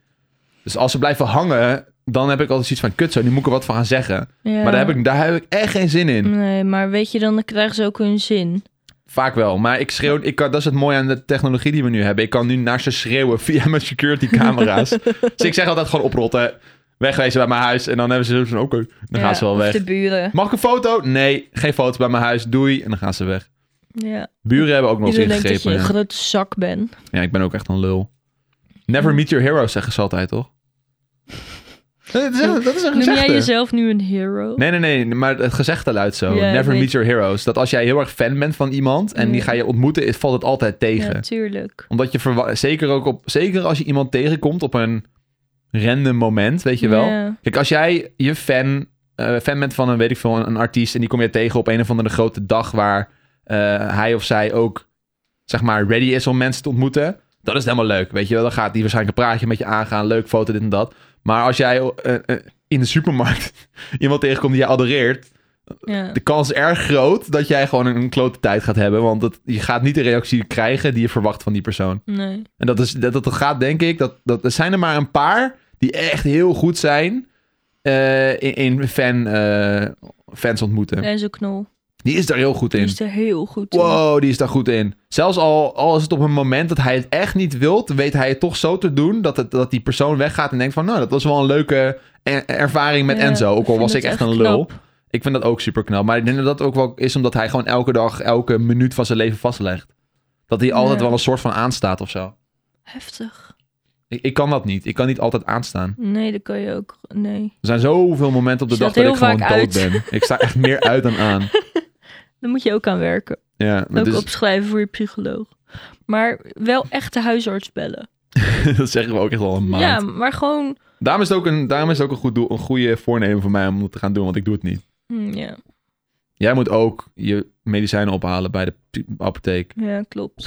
Dus als ze blijven hangen, dan heb ik altijd zoiets van... Kut zo, nu moet ik er wat van gaan zeggen.
Ja. Mm.
Maar daar heb, ik, daar heb ik echt geen zin in.
Nee, maar weet je, dan krijgen ze ook hun zin.
Vaak wel. Maar ik schreeuw... Ik kan, dat is het mooie aan de technologie die we nu hebben. Ik kan nu naar ze schreeuwen via mijn security camera's. dus ik zeg altijd gewoon oprotten. Wegwezen bij mijn huis. En dan hebben ze zoiets van... Oké,
Ja,
dan gaan ze wel
of
weg.
de buren.
Mag ik een foto? Nee, geen foto bij mijn huis. Doei. En dan gaan ze weg.
Ja.
Buren hebben ook nog eens
Iedereen denkt dat je
ingegrepen.
een
Ja.
grote zak bent.
Ja, ik ben ook echt een lul. Never meet your heroes, zeggen ze altijd, toch? Dat is, dat is een
Noem jij
gezegde.
jezelf nu een hero?
Nee, nee, nee, maar het gezegde luidt zo.
Ja, ik
Never
weet-
meet your heroes. Dat als jij heel erg fan bent van iemand en die
Mm.
ga je ontmoeten, is- valt het altijd tegen.
Natuurlijk.
Omdat je verwa- zeker ook op, zeker als je iemand tegenkomt op een random moment, weet je wel. Kijk, als jij je fan, eh, fan bent van een, weet ik veel, een, een artiest en die kom je tegen op een of andere grote dag waar eh, hij of zij ook, zeg maar, ready is om mensen te ontmoeten. Dat is helemaal leuk, weet je wel. Dan gaat die waarschijnlijk een praatje met je aangaan, leuk foto, dit en dat. Maar als jij eh, eh, in de supermarkt iemand tegenkomt die je adoreert,
Ja.
de kans is erg groot dat jij gewoon een, een klote tijd gaat hebben. Want het- je gaat niet de reactie krijgen die je verwacht van die persoon.
Nee.
En dat, is, dat, dat gaat denk ik, dat, dat, er zijn er maar een paar die echt heel goed zijn eh, in, in fan, eh, fans ontmoeten.
Hij is een knol.
Die is daar heel goed
Die
in.
is er heel goed in.
Wow, die is daar goed in. Zelfs al, al is het op een moment dat hij het echt niet wilt, weet hij het toch zo te doen dat, het, dat die persoon weggaat en denkt van, nou, dat was wel een leuke er- ervaring met
Ja,
Enzo. Ook al
vind
was
het
ik echt
echt
een lul.
knap.
Ik vind dat ook super knap. Maar ik denk dat dat ook wel is omdat hij gewoon elke dag, elke minuut van zijn leven vastlegt. Dat hij altijd
Ja.
wel een soort van aanstaat of zo.
Heftig.
Ik, ik kan dat niet. Ik kan niet altijd aanstaan.
Nee, dat kan je ook. Nee.
Er zijn zoveel momenten op de
Je
dag
staat
dat ik
heel
gewoon dood
vaak uit.
ben. Ik sta echt meer uit dan aan.
Daar moet je ook aan werken.
Ja, dus
Ook
dat is,
opschrijven voor je psycholoog. Maar wel echt de huisarts bellen.
dat zeggen we ook echt al een maand.
Ja, maar gewoon...
Daarom is het ook een, daarom is het ook een, goed doel, een goede voornemen voor mij om dat te gaan doen, want ik doe het niet.
Hm, ja.
Jij moet ook je medicijnen ophalen bij de p- apotheek.
ja, klopt.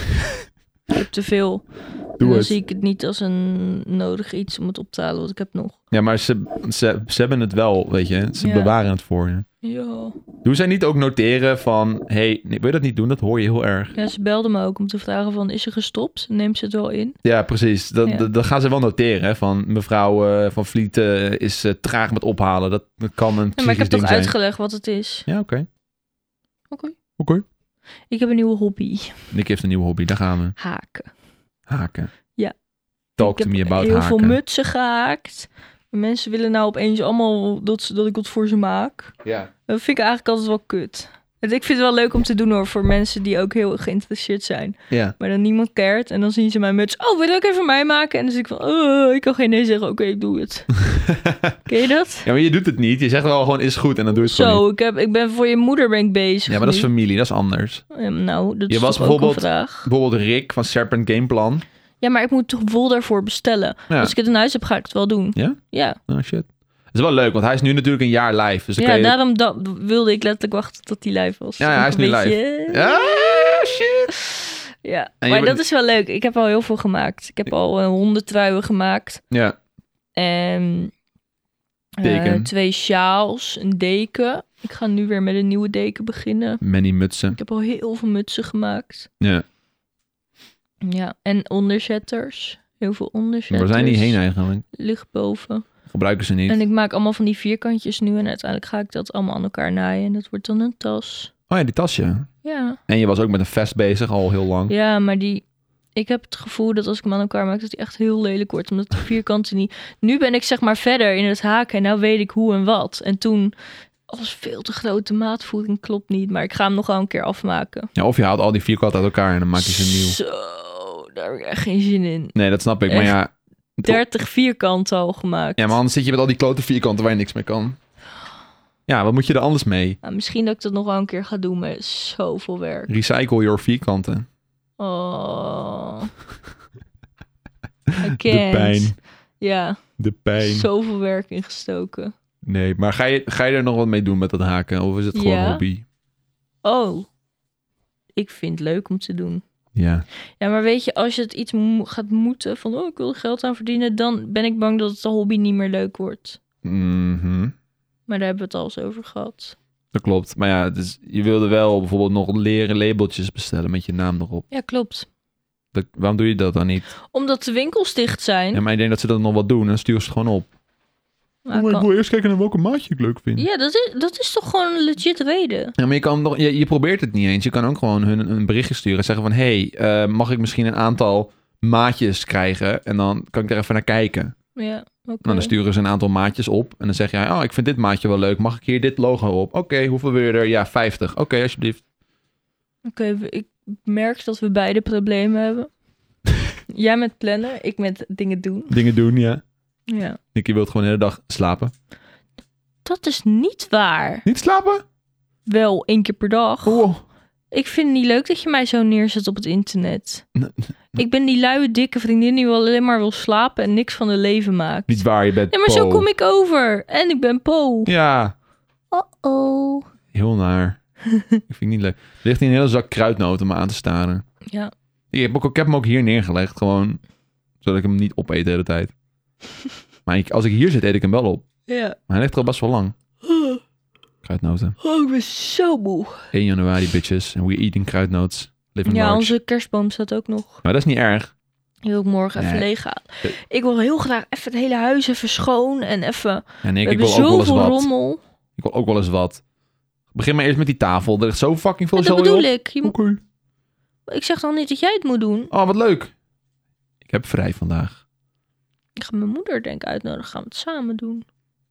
ik heb te veel. En
Doe
dan
het.
zie ik het niet als een nodig iets om het op te halen wat ik heb nog.
Ja, maar ze, ze, ze hebben het wel, weet je. Ze
Ja.
bewaren het voor je.
Ja.
Doen zij niet ook noteren van... Hé, hey, nee, wil je dat niet doen? Dat hoor je heel erg.
ja, ze belden me ook om te vragen van, is ze gestopt? Neemt ze het wel in?
Ja, precies. Dat,
Ja.
dat, dat gaan ze wel noteren. Hè? Van mevrouw eh, Van Vliet eh, is eh, traag met ophalen. Dat, dat kan een
Ja,
psychisch
maar ik heb
ding
toch
zijn.
uitgelegd wat het is.
Ja, oké.
Oké.
Oké.
Ik heb een nieuwe hobby.
Nick heeft een nieuwe hobby. Daar gaan we.
Haken.
Haken.
Ja.
Talk
ik
to
heb
me about
heel
haken.
veel mutsen gehaakt. Mensen willen nou opeens allemaal dat, ze- dat ik wat voor ze maak.
Ja.
Dat vind ik eigenlijk altijd wel kut. Want Ik vind het wel leuk om te doen hoor, voor mensen die ook heel geïnteresseerd zijn.
ja.
Maar dan niemand cared en dan zien ze mijn muts. Oh, wil je dat ook even mij maken? En dan zit ik van, oh, ik kan geen nee zeggen. Oké, ik doe het. Ken je dat?
Ja, maar je doet het niet. Je zegt wel gewoon is goed en dan doe je het gewoon niet.
Zo, ik, heb, ik ben voor je moeder ben ik bezig
Ja, maar dat is
nu.
familie. Dat is anders.
Ja, nou, dat
Je
is
was
was
bijvoorbeeld-
ook een vraag.
Bijvoorbeeld Rick van Serpent Gameplan.
Ja, maar ik moet toch vol daarvoor bestellen.
Ja.
Als ik het in huis heb, ga ik het wel doen.
Ja?
Ja.
Oh shit. Dat is wel leuk, want hij is nu natuurlijk een jaar live. Dus dan
ja,
kun je...
daarom da- wilde ik letterlijk wachten tot hij live was.
Ja, ja,
Ook
hij is
een
nu
beetje- nou-
Ah, shit.
Ja,
En je
maar
bent-
dat is wel leuk. Ik heb al heel veel gemaakt. Ik heb al eh, hondentruien gemaakt.
Ja.
En eh,
Deken.
twee sjaals, een deken. Ik ga nu weer met een nieuwe deken beginnen.
Manny Mutsen.
Ik heb al heel veel mutsen gemaakt.
Ja.
Ja, en onderzetters. Heel veel onderzetters.
Waar zijn die heen eigenlijk?
Ligt boven.
Gebruiken ze niet.
En ik maak allemaal van die vierkantjes nu. En uiteindelijk ga ik dat allemaal aan elkaar naaien. En dat wordt dan een tas.
Oh ja, die tasje.
Ja.
En je was ook met een vest bezig al heel lang.
Ja, maar die. Ik heb het gevoel dat als ik hem aan elkaar maak, dat die echt heel lelijk wordt. Omdat de vierkanten niet. Nu ben ik zeg maar verder in het haken en nou weet ik hoe en wat. En toen. Alles veel te groot, de maatvoering klopt niet. Maar ik ga hem nog wel een keer afmaken.
Ja, of je haalt al die vierkant uit elkaar en dan maak je ze nieuw.
Zo, daar heb ik echt geen zin in.
Nee, dat snap ik. Maar
Echt?
ja,
30 vierkanten al gemaakt.
ja, maar anders zit je met al die klote vierkanten waar je niks mee kan. Ja, wat moet je er anders mee?
Nou, misschien dat ik dat nog wel een keer ga doen, maar het is zoveel werk.
Recycle your vierkanten.
Oh. I
De
can't.
pijn.
Ja,
De pijn.
zoveel werk ingestoken.
Nee, maar ga je, ga je er nog wat mee doen met dat haken? Of is het gewoon
Ja.
een hobby?
Oh, ik vind het leuk om te doen.
Ja.
Ja, maar weet je, als je het iets mo- gaat moeten van oh, ik wil er geld aan verdienen, dan ben ik bang dat het de hobby niet meer leuk wordt.
Mhm.
Maar daar hebben we het al eens over gehad.
Dat klopt. Maar ja, dus je wilde wel bijvoorbeeld nog leren labeltjes bestellen met je naam erop.
Ja, klopt.
Dat, waarom doe je dat dan niet?
Omdat de winkels dicht zijn.
Ja, maar ik denk dat ze dat nog wel doen en dan sturen ze het gewoon op.
maar Ah,
Oh, maar
kan-
ik wil eerst kijken naar welke maatje ik leuk vind.
Ja, dat is, dat is toch gewoon een legit reden.
Ja, maar je, kan nog, je, je probeert het niet eens. Je kan ook gewoon hun een berichtje sturen en zeggen van... hey, eh, mag ik misschien een aantal maatjes krijgen? En dan kan ik er even naar kijken. En
Ja, oké.
Nou, dan sturen ze een aantal maatjes op. En dan zeg jij, oh, ik vind dit maatje wel leuk. Mag ik hier dit logo op? Oké, hoeveel wil je er? Ja, 50. Oké, alsjeblieft.
Oké, we- ik merk dat we beide problemen hebben. Jij met plannen, ik met dingen doen.
Dingen doen, ja.
Ja.
Nicky wil gewoon de hele dag slapen.
Dat is niet waar.
Niet slapen?
Wel één keer per dag.
Wow.
Ik vind het niet leuk dat je mij zo neerzet op het internet.
Nee,
Ik ben die luie, dikke vriendin die wel alleen maar wil slapen en niks van het leven maakt.
Niet waar, je bent
Nee, maar zo
Paul.
kom ik over. En ik ben Po.
Ja,
Oh-oh.
heel naar. ik vind het niet leuk. Er ligt hier een hele zak kruidnoten me aan te staren.
Ja.
Ik heb, ook, ik heb hem ook hier neergelegd, gewoon zodat ik hem niet opeet de hele tijd. maar ik- als ik hier zit, eet ik hem wel op.
Ja.
Maar hij ligt er al best wel lang. Kruidnoten.
Oh, ik ben zo moe.
1 januari, bitches. And we eating kruidnoten. Living
Ja,
large.
onze kerstboom staat ook nog.
Maar dat is niet erg.
Die wil ik morgen even
Nee.
leeg halen.
Eh.
Ik wil heel graag even het hele huis even schoon en even...
En
We
ik, ik
hebben
wil ook wel eens
zoveel
wat.
rommel.
Ik wil ook wel eens wat. Begin maar eerst met die tafel. Er ligt zo fucking veel
Ja, dat
zooi
bedoel
op.
ik. Je moet-
Oké.
Ik zeg dan niet dat jij het moet doen.
Oh, wat leuk. Ik heb vrij vandaag.
Ik ga mijn moeder denk ik uitnodigen. Gaan we het samen doen.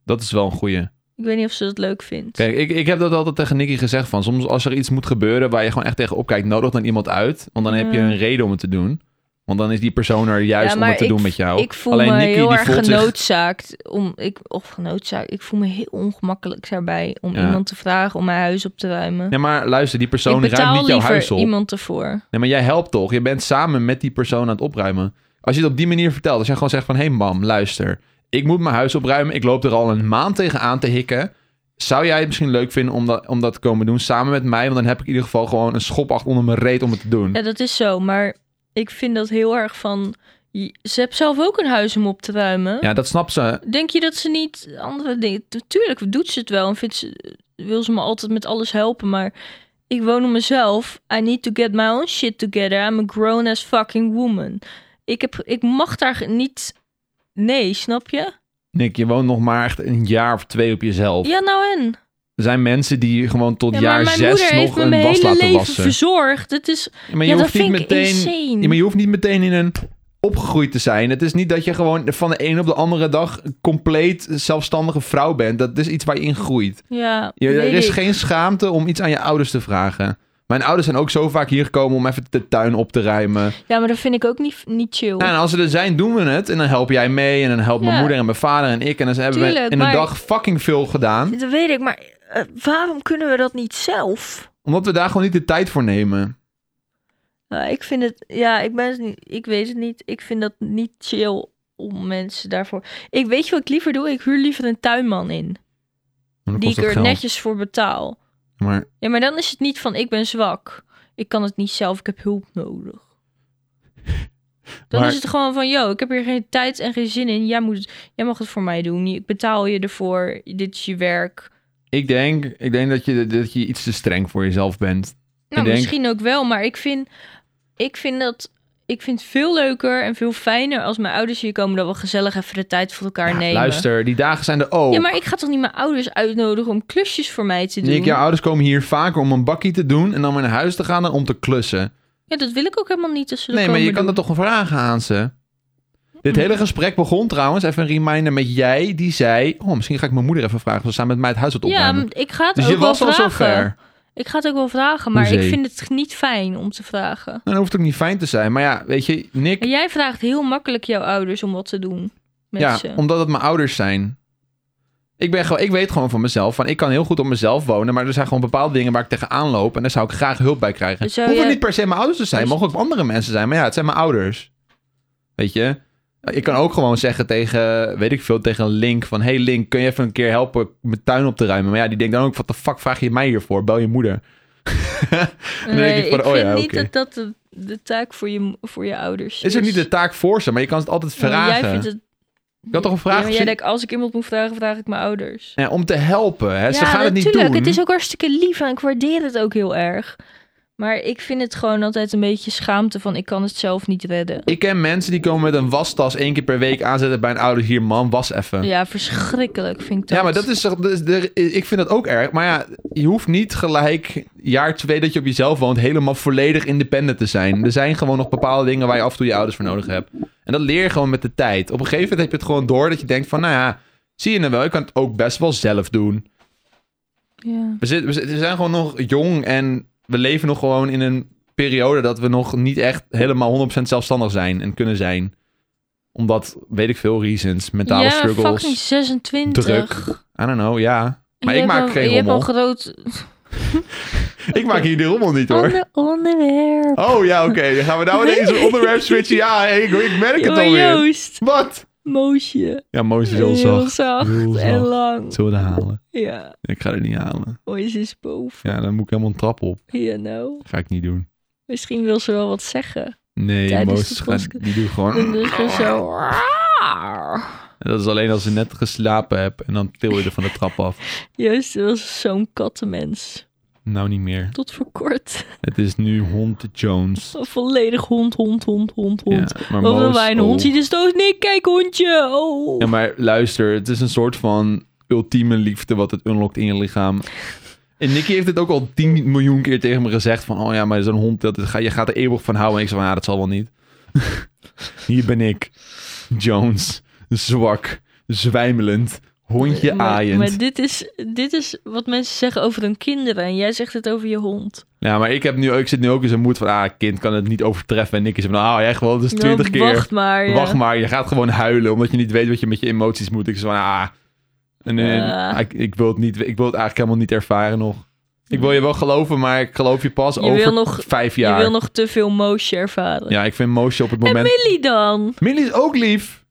Dat is wel een goeie.
Ik weet niet of ze dat leuk vindt.
Kijk, ik, ik heb dat altijd tegen Nicky gezegd van... soms als er iets moet gebeuren waar je gewoon echt tegen opkijkt... nodig dan iemand uit, want dan heb je
Ja.
een reden om het te doen. Want dan is die persoon er juist om
Mm. maar
het te
ik-
doen met jou.
Ik voel
Alleen
me
Nicky,
heel
die
erg
voelt zich-
genoodzaakt om ik of genoodzaakt. Ik voel me heel ongemakkelijk daarbij om
Ja.
iemand te vragen om mijn huis op te ruimen.
Nee, maar luister, die
ik
persoon ruimt
betaal
niet jouw huis
liever
op. Hm.
iemand ervoor.
Nee, maar jij helpt toch? Je bent samen met die persoon aan het opruimen. Als je het op die manier vertelt, als jij gewoon zegt van... hé hey mam, luister, ik moet mijn huis opruimen. Ik loop er al een maand tegen aan te hikken. Zou jij het misschien leuk vinden om dat, om dat te komen doen samen met mij? Want dan heb ik in ieder geval gewoon een schop achter onder mijn reet om het te doen.
Ja, dat is zo. Maar ik vind dat heel erg van. je- Ze hebt zelf ook een huis om op te ruimen.
Ja, dat snapt ze.
Denk je dat ze niet andere dingen. Natuurlijk doet ze het wel en vindt ze, wil ze me altijd met alles helpen, maar ik woon op mezelf. I need to get my own shit together. I'm a grown ass fucking woman. Ik, heb, ik mag daar niet. Nee, snap je?
Nick, je woont nog maar echt een jaar of twee op jezelf.
Ja, nou en.
Er zijn mensen die gewoon tot
Ja, maar
jaar
mijn
zes
moeder
nog
heeft me
een
mijn
was
hele
laten
leven
wassen.
verzorgd. Het is,
Maar
ja,
je
dat
hoeft niet
vind ik
meteen...
insane.
Ja, maar je hoeft niet meteen in een opgegroeid te zijn. Het is niet dat je gewoon van de een op de andere dag een compleet zelfstandige vrouw bent. Dat is iets waar je in groeit.
Ja,
Je, er
weet
is
ik.
geen schaamte om iets aan je ouders te vragen. Mijn ouders zijn ook zo vaak hier gekomen om even de tuin op te ruimen.
ja, maar dat vind ik ook niet, niet chill.
Nou, en als ze er zijn, doen we het. En dan help jij mee. En dan helpt mijn
Ja.
moeder en mijn vader en ik. En dan hebben we
Tuurlijk,
in een
maar-
dag fucking veel gedaan.
Dat weet ik, maar eh, waarom kunnen we dat niet zelf?
Omdat we daar gewoon niet de tijd voor nemen.
Nou, ik vind het, ja, ik ben het niet, ik weet het niet. Ik vind dat niet chill om mensen daarvoor. Ik weet je wat ik liever doe? Ik huur liever een tuinman in,
Maar dan
die ik
kost dat
er
geld.
netjes voor betaal.
Maar
Ja, maar dan is het niet van ik ben zwak, ik kan het niet zelf, ik heb hulp nodig. Dan
Maar-
is het gewoon van, yo, ik heb hier geen tijd en geen zin in. Jij, moet, jij mag het voor mij doen. Ik betaal je ervoor. Dit is je werk.
ik denk, ik denk dat, je, dat je iets te streng voor jezelf bent.
Nou,
denk-
misschien ook wel, maar ik vind, ik vind dat. Ik vind het veel leuker en veel fijner als mijn ouders hier komen dat we gezellig even de tijd voor elkaar
Ja,
nemen.
Luister, die dagen zijn er ook.
Ja, maar ik ga toch niet mijn ouders uitnodigen om klusjes voor mij te doen?
Nick, jouw ouders komen hier vaker om een bakkie te doen en dan weer naar huis te gaan en om te klussen.
Ja, dat wil ik ook helemaal niet. als ze dat
nee, maar je
komen
kan dat
doen.
toch vragen aan ze? Dit hele gesprek begon trouwens, even een reminder met jij, die zei... Oh, misschien ga ik mijn moeder even vragen, ze staan met mij het huis wat
Ja,
opruimen.
maar ik ga het
dus
ook
je
wel
was al
vragen.
zo ver.
Ik ga het ook wel vragen, maar
Hoezee.
ik vind het niet fijn om te vragen.
Nou, Dan hoeft het ook niet fijn te zijn. Maar ja, weet je, Nick...
En jij vraagt heel makkelijk jouw ouders om wat te doen met
Ja,
ze.
omdat het mijn ouders zijn. Ik, ben gewoon, ik weet gewoon van mezelf, van ik kan heel goed op mezelf wonen... maar er zijn gewoon bepaalde dingen waar ik tegenaan loop... en daar zou ik graag hulp bij krijgen.
Dus Zou
Hoeven
je-
niet per se mijn ouders te zijn,
Dus-
mogen ook andere mensen zijn. Maar ja, het zijn mijn ouders. Weet je? Ik kan ook gewoon zeggen tegen, weet ik veel, tegen Link van... Hey Link, kun je even een keer helpen mijn tuin op te ruimen? Maar ja, die denkt dan ook, wat de fuck vraag je mij hiervoor? Bel je moeder. Dan denk
Nee,
ik van,
ik
oh
vind
ja,
niet
oké.
dat dat de, de taak voor je, voor je ouders is.
Is het niet de taak voor ze, maar je kan het altijd
Ja, maar Jij
vragen.
vindt het
Ik had toch een
Ja,
vraag
maar jij
gezien?
denkt, als ik iemand moet vragen, vraag ik mijn ouders.
Ja, om te helpen. Hè? Eh, ze gaan het niet
natuurlijk.
doen.
Het is ook hartstikke lief en ik waardeer het ook heel erg. Maar ik vind het gewoon altijd een beetje schaamte van, ik kan het zelf niet redden.
Ik ken mensen die komen met een wastas één keer per week aanzetten bij een ouder. Hier, man, was even.
Ja, verschrikkelijk vind ik dat.
Ja, maar dat is, toch- dat is de- ik vind dat ook erg. Maar ja, je hoeft niet gelijk jaar twee dat je op jezelf woont helemaal volledig independent te zijn. Er zijn gewoon nog bepaalde dingen waar je af en toe je ouders voor nodig hebt. En dat leer je gewoon met de tijd. Op een gegeven moment heb je het gewoon door dat je denkt van, nou ja, zie je nou wel, ik kan het ook best wel zelf doen.
Ja.
We, zit- we zit- we zijn gewoon nog jong en we leven nog gewoon in een periode dat we nog niet echt helemaal 100% zelfstandig zijn en kunnen zijn. Omdat, weet ik veel, reasons, mentale
ja,
struggles,
fucking 26.
druk. I don't know, ja. Maar
Je
ik
hebt
maak
al-
geen
Je hebt al
rommel.
groot
Ik maak hier de rommel niet hoor.
ander onderwerp.
Oh ja, oké. Dan gaan we nou ineens een onderwerp switchen. Ja, hey, ik, Oh, ik merk het
Jongen,
alweer.
Oh, Joost,
Wat?
moosje.
Ja, Mozes heel
Heel
zacht.
zacht
Heel
en
zacht.
lang.
Zullen we dat halen?
Ja,
Ik ga het niet halen.
mooi is boven.
Ja, dan moet ik helemaal een trap op.
You know.
Ga ik niet doen.
Misschien wil ze wel wat zeggen.
Nee,
Tijdens
Mozes
de
gaat,
podcast.
die doet
Dan
gewoon...
is ze zo...
Dat is alleen als je net geslapen hebt en dan til je er van de trap af.
Joost was zo'n kattenmens.
Nou, niet meer.
Tot voor kort.
Het is nu hond Jones.
Volledig hond, hond, hond, hond, hond.
Ja, maar
Of
Moos-
dat wij een
oh.
hond zien, dus dood. Nee, kijk hondje. Oh.
Ja, maar luister, het is een soort van ultieme liefde wat het unlockt in je lichaam. En Nicky heeft het ook al 10 miljoen keer tegen me gezegd van, oh ja, maar zo'n hond, dat is, ga- je gaat er eeuwig van houden. En ik zei van, ja, dat zal wel niet. Hier ben ik, Jones, zwak, zwijmelend, hondje
maar,
aaiend.
Maar dit is, dit is wat mensen zeggen over hun kinderen. En jij zegt het over je hond.
Ja, maar ik, heb nu, ik zit nu ook in zo'n moed van, ah, kind kan het niet overtreffen. En Nicky is van, ah, oh, echt wel, dat is 20
Ja,
keer.
Nou, Wacht maar. Ja.
Wacht maar, je gaat gewoon huilen omdat je niet weet wat je met je emoties moet. Ik zei van, ah, nee,
Ja.
ik, ik, wil het niet, ik wil het eigenlijk helemaal niet ervaren nog. Ik wil je wel geloven, maar ik geloof je pas
Je
over
wil nog-
vijf
Je
jaar.
wil nog te veel moosje ervaren.
Ja, ik vind Moosje op het
En
moment...
Millie dan?
Millie is ook lief.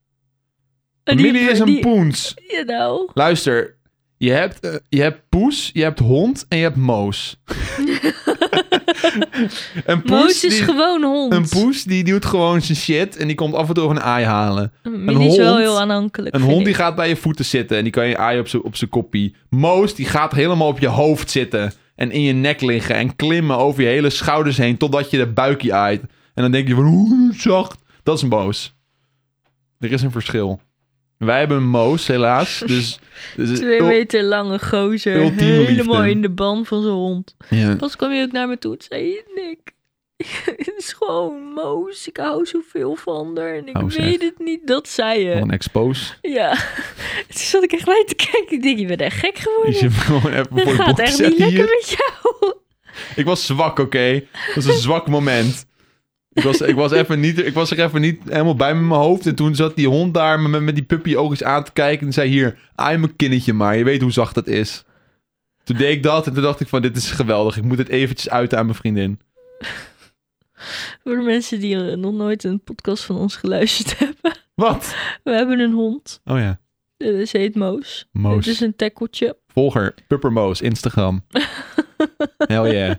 Die-
Millie is een
die- nou.
poens.
You know.
Luister, je hebt, eh, je hebt poes, je hebt hond en je hebt moos. een poes,
Moos is
die,
gewoon hond.
een poes die doet gewoon zijn shit en die komt af en toe een aai halen.
Millie is wel
hond-
heel aanhankelijk.
Een
vind ik.
hond die gaat bij je voeten zitten en die kan je aaien op zijn op zijn koppie. Moos die gaat helemaal op je hoofd zitten en in je nek liggen en klimmen over je hele schouders heen totdat je de buikje aait. En dan denk je van oeh, zacht. Dat is een moos. Er is een verschil. Wij hebben een moos helaas, dus... dus
Twee meter lange gozer.
ultieme
Helemaal
liefde.
in de ban van zijn hond.
Ja.
Pas kwam je ook naar me toe en zei je, Nick. Het is gewoon Moos. Ik hou zoveel van haar. En ik
Oh, zeg.
weet het niet. Dat zei je.
Wat een expose.
Ja. Toen zat ik echt bij te kijken. Ik denk, je bent echt gek
Je
geworden.
zit me gewoon even voor
Het
de
gaat
bocht
echt niet
zetten
lekker
hier.
met jou.
Ik was zwak, oké? Dat was een zwak moment. Ik was, ik, was even niet, ik was er even niet helemaal bij met mijn hoofd. En toen zat die hond daar met, met die puppy oogjes aan te kijken. En zei hier, aai mijn kinnetje maar. Je weet hoe zacht dat is. Toen deed ik dat en toen dacht ik van, dit is geweldig. Ik moet het eventjes uiten aan mijn vriendin.
Voor de mensen die eh, nog nooit een podcast van ons geluisterd hebben.
Wat?
We hebben een hond.
Oh ja,
Eh, Ze heet Moos. Het is
Moos.
een tackeltje.
Volger, Puppermoos, Instagram. Hell yeah.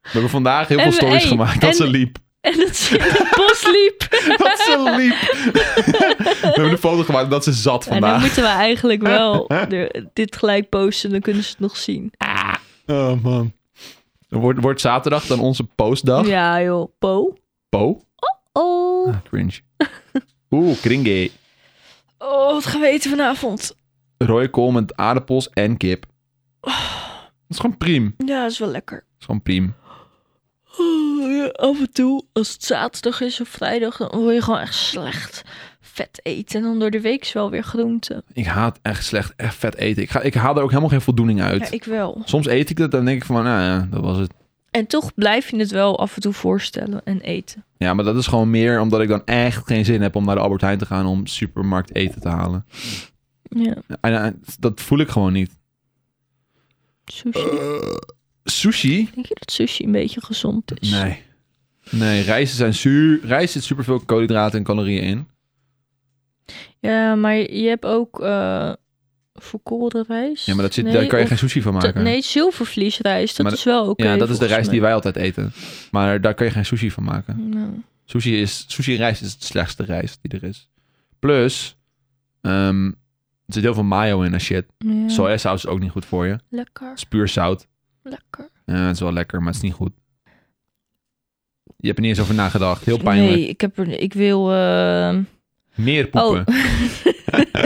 We hebben vandaag heel
En
veel
we-
stories
hey,
gemaakt. Dat
en-
ze liep.
En dat ze in het bos liep.
Dat ze liep. We hebben een foto gemaakt dat ze zat
En dan
vandaag.
moeten we eigenlijk wel de- dit gelijk posten. Dan kunnen ze het nog zien.
Oh man. Wordt, wordt zaterdag dan onze postdag?
Ja joh. Po.
Po?
Oh.
Ah, cringe. Oeh, kringe.
Oh, wat gaan we eten vanavond?
Rode kool met aardappels en kip. Dat is gewoon priem. Dat
Ja, is wel lekker.
is gewoon priem.
Oh, ja, af en toe, als het zaterdag is of vrijdag, dan word je gewoon echt slecht vet eten. En dan door de week is wel weer groente.
Ik haat echt slecht, echt vet eten. Ik, ga, ik haal er ook helemaal geen voldoening uit.
Ja, ik wel.
Soms eet ik dat en denk ik van, nou ja, dat was het.
En toch blijf je het wel af en toe voorstellen en eten.
Ja, maar dat is gewoon meer omdat ik dan echt geen zin heb om naar de Albert Heijn te gaan om supermarkt eten te halen.
Ja,
En, eh, dat voel ik gewoon niet.
sushi.
Eh. Sushi?
Denk je dat sushi een beetje gezond is?
Nee. Nee, rijst zijn zuur. Rijst zit superveel koolhydraten en calorieën in.
Ja, maar je hebt ook eh volkoren rijst.
Ja, maar dat zit,
Nee,
daar kan je
of
geen sushi van
dat-
maken.
Nee, zilvervliesrijst, dat
Maar
is wel oké.
ja, dat is de
volgens
rijst die
mij.
wij altijd eten. Maar daar kan je geen sushi van maken.
Nou,
Sushi, is, sushi rijst is het slechtste rijst die er is. Plus, ehm, er zit heel veel mayo in en shit.
ja.
Sojasaus is ook niet goed voor je. Het
Lekker,
is puur zout.
lekker.
Ja, het is wel lekker, maar het is niet goed. Je hebt er niet eens over nagedacht. Heel pijnlijk.
Nee, ik, heb er, ik wil... eh,
Meer poepen.
Oh.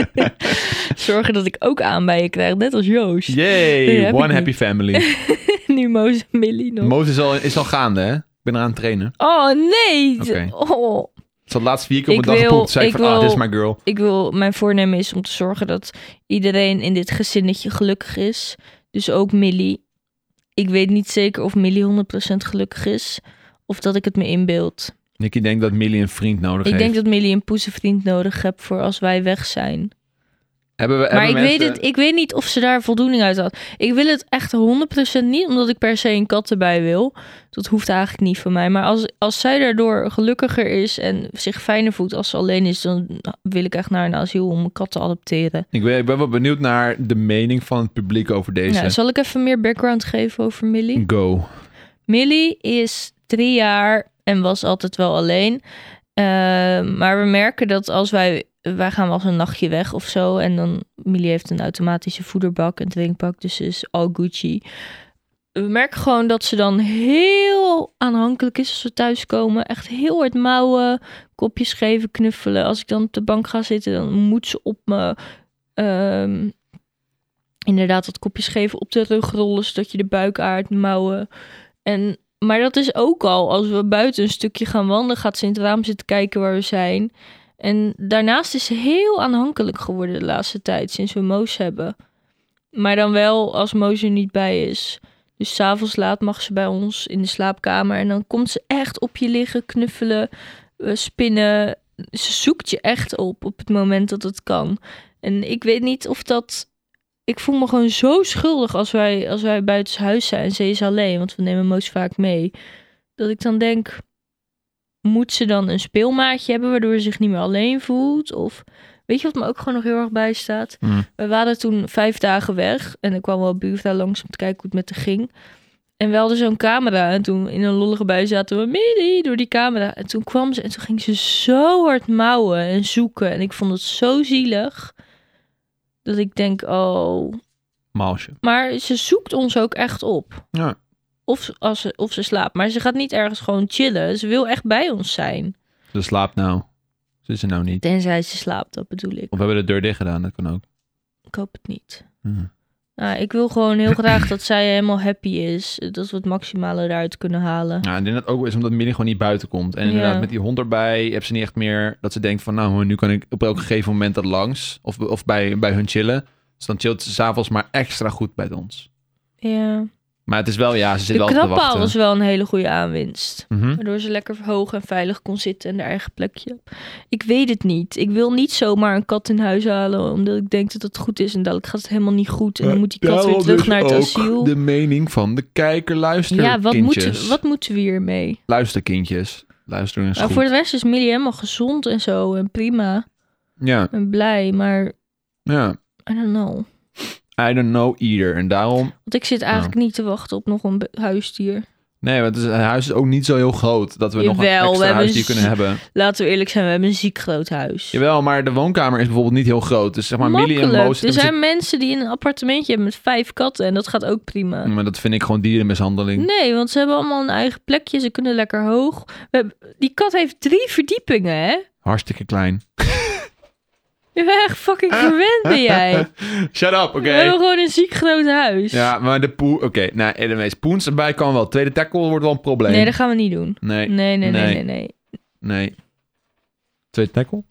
Zorgen dat ik ook aan bij je krijg, net als Joost.
Yay,
heb ik
one
niet.
happy family.
nu Moos en Millie nog.
Moos is al, is al gaande, hè? Ik ben eraan het trainen.
oh nee!
Oké.
Oh.
Ze had laatst vier keer op
Ik
een dag
wil-
gepoept. Toen zei ik
ik
van, ah,
wil-
dit is my girl.
Ik wil, mijn voornemen is om te zorgen dat iedereen in dit gezinnetje gelukkig is. Dus ook Millie. Ik weet niet zeker of Millie 100% gelukkig is. Of dat ik het me inbeeld.
Nicky denkt dat Millie een vriend nodig
Ik
heeft.
denk dat Millie een poezenvriend nodig hebt voor als wij weg zijn.
Hebben we,
Maar
hebben
ik weet,
mensen-
het, ik weet niet of ze daar voldoening uit had. Ik wil het echt 100% niet, omdat ik per se een kat erbij wil. Dat hoeft eigenlijk niet van mij. Maar als, als zij daardoor gelukkiger is en zich fijner voelt als ze alleen is, dan wil ik echt naar een asiel om een kat te adopteren.
Ik ben, ik ben wel benieuwd naar de mening van het publiek over deze.
Nou, zal ik even meer background geven over Millie?
Go.
Millie is drie jaar en was altijd wel alleen. Eh, maar we merken dat als wij... Wij gaan wel eens een nachtje weg of zo. En dan... Millie heeft een automatische voederbak en drinkbak. Dus ze is al Gucci. We merken gewoon dat ze dan heel aanhankelijk is als we thuiskomen. Echt heel hard mouwen, kopjes geven, knuffelen. Als ik dan op de bank ga zitten, dan moet ze op me... ehm, inderdaad, dat kopjes geven op de rug rollen... zodat je de buik aardt, mouwen... En, maar dat is ook al, als we buiten een stukje gaan wandelen, gaat ze in het raam zitten kijken waar we zijn. En daarnaast is ze heel aanhankelijk geworden de laatste tijd, sinds we Moos hebben. Maar dan wel als Moos er niet bij is. Dus s'avonds laat mag ze bij ons in de slaapkamer. En dan komt ze echt op je liggen, knuffelen, eh, spinnen. Ze zoekt je echt op op het moment dat het kan. En ik weet niet of dat ik voel me gewoon zo schuldig als wij, als wij buiten huis zijn. en Ze is alleen, want we nemen Moos vaak mee. Dat ik dan denk, moet ze dan een speelmaatje hebben waardoor ze zich niet meer alleen voelt? Of weet je wat me ook gewoon nog heel erg bijstaat?
Mm.
We waren toen vijf dagen weg en er kwam wel buurvrouw langs om te kijken hoe het met haar ging. En we hadden zo'n camera en toen in een lollige bui zaten we midden door die camera. En toen kwam ze en toen ging ze zo hard mouwen en zoeken. En ik vond het zo zielig dat ik denk, oh,
Maalsje.
maar ze zoekt ons ook echt op.
Ja.
Of, als ze, of ze slaapt. Maar ze gaat niet ergens gewoon chillen. Ze wil echt bij ons zijn.
Ze slaapt nou. Ze is er nou niet.
Tenzij ze slaapt, dat bedoel ik.
Of we hebben de deur dicht gedaan, dat kan ook.
Ik hoop het niet.
Hm.
Nou, ik wil gewoon heel graag dat zij helemaal happy is. Dat we het maximale eruit kunnen halen.
Ja, ik denk dat het ook is omdat Millie gewoon niet buiten komt. En
Ja.
inderdaad, met die hond erbij heb ze niet echt meer dat ze denkt van... nou, nu kan ik op elk gegeven moment dat langs. Of, of bij, bij hun chillen. Dus dan chillt ze s'avonds maar extra goed bij ons.
Ja.
Maar het is wel, ja, ze zit
De
wel te wachten.
krabpaal was wel een hele goede aanwinst.
Mhm.
Waardoor ze lekker hoog en veilig kon zitten en haar eigen plekje. Ik weet het niet. Ik wil niet zomaar een kat in huis halen. Omdat ik denk dat het goed is. En dadelijk gaat het helemaal niet goed. En dan moet die kat weer
Daarom
terug
dus
naar het
ook
asiel.
de mening van de kijker. Luister,
Ja, wat
kindjes.
moeten, wat moeten we hiermee?
Luister, kindjes. Luister eens
Maar
goed.
voor de rest is Millie helemaal gezond en zo. En prima.
Ja,
En blij. Maar
ja.
I don't know.
I don't know either. En daarom...
Want ik zit eigenlijk
Nou.
niet te wachten op nog een be- huisdier.
Nee, want het, is- het huis is ook niet zo heel groot... dat we nog een
Jawel, we
extra
hebben
huisdier
z-
kunnen hebben.
Laten we eerlijk zijn, we hebben een ziek groot huis.
Jawel, maar de woonkamer is bijvoorbeeld niet heel groot. Dus zeg maar, Millie en
Makkelijk.
Moos...
Er
hebben
zijn mensen die in een appartementje hebben met vijf katten. En dat gaat ook prima.
ze- Maar dat vind ik gewoon dierenmishandeling.
Nee, want ze hebben allemaal een eigen plekje. Ze kunnen lekker hoog. We hebben- Die kat heeft drie verdiepingen, hè?
Hartstikke klein.
Je bent echt fucking verwend, ben jij.
Shut up, oké.
We hebben gewoon een ziek groot huis.
Ja, maar de poe... Oké, nou, Edemees. Poens erbij kan wel. Tweede tackle wordt wel een probleem.
Nee, dat gaan we niet doen.
nee,
Nee, nee, nee,
Nee.
nee, nee.
nee. Tweede tackle?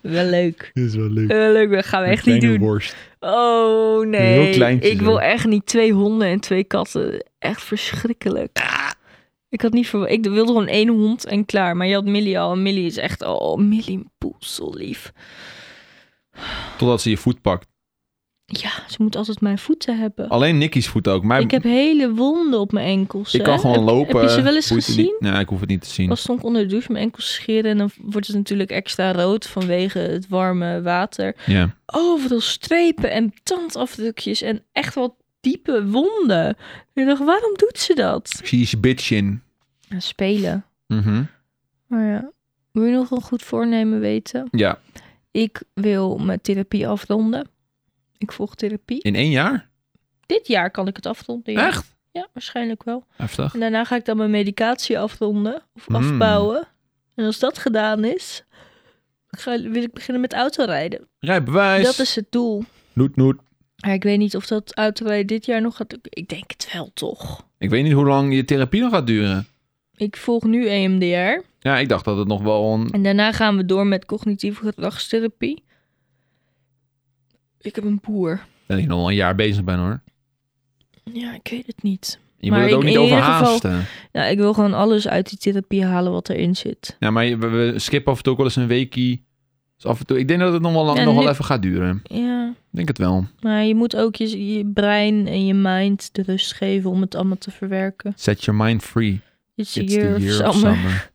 Wel leuk.
Dat is wel leuk.
Wel leuk, dat gaan we echt niet doen.
worst.
Oh nee.
Heel kleintjes,
ik wil
hè?
echt niet twee honden en twee katten. Echt verschrikkelijk.
Ah.
Ik had niet verwacht. Ik wilde gewoon één hond en klaar. Maar je had Millie al. En Millie is echt. Oh, Millie, een poel, zo lief.
Totdat ze je voet pakt.
Ja, ze moet altijd mijn voeten hebben.
Alleen Nicky's voet ook. Mijn,
Ik heb hele wonden op mijn enkels.
ik
hè.
kan gewoon
Heb-
lopen.
Heb je ze wel eens
voeten
gezien?
Niet, nee, ik hoef het niet te zien.
Pas stond ik onder de douche mijn enkels scheren. En dan wordt het natuurlijk extra rood vanwege het warme water.
Ja.
overal strepen en tandafdrukjes en echt wel diepe wonden. Ik dacht, waarom doet ze dat?
She's bitchin.
spelen.
Mhm.
Maar ja, wil je nog een goed voornemen weten?
Ja.
Ik wil mijn therapie afronden. Ik volg therapie.
In één jaar?
Dit jaar kan ik het afronden. Ja,
Echt?
ja waarschijnlijk wel.
Heftig.
En daarna ga ik dan mijn medicatie afronden of
Mm.
afbouwen. En als dat gedaan is, ga, wil ik beginnen met autorijden.
Rijbewijs.
Dat is het doel.
Noet, noet.
Maar ik weet niet of dat autorijden dit jaar nog gaat. Ik denk het wel, toch?
Ik weet niet hoe lang je therapie nog gaat duren.
Ik volg nu E EMDR.
Ja, ik dacht dat het nog wel een...
En daarna gaan we door met cognitieve gedragstherapie. Ik heb een boer.
Ben ik nog wel een jaar bezig ben hoor.
Ja, ik weet het niet.
Je
Maar
moet het ook
ik-
niet
in ieder
overhaasten.
Nou, ik wil gewoon alles uit die therapie halen wat erin zit.
Ja, maar je- we, we skippen af en toe ook wel eens een weekie. Dus af en toe, ik denk dat het nog wel, lang,
Ja,
nog wel
nu-
even gaat duren.
Ja,
Ik denk het wel.
maar je moet ook je, je brein en je mind de rust geven om het allemaal te verwerken.
Set your mind free.
It's, a
It's the
year
year
of
of
summer.
summer.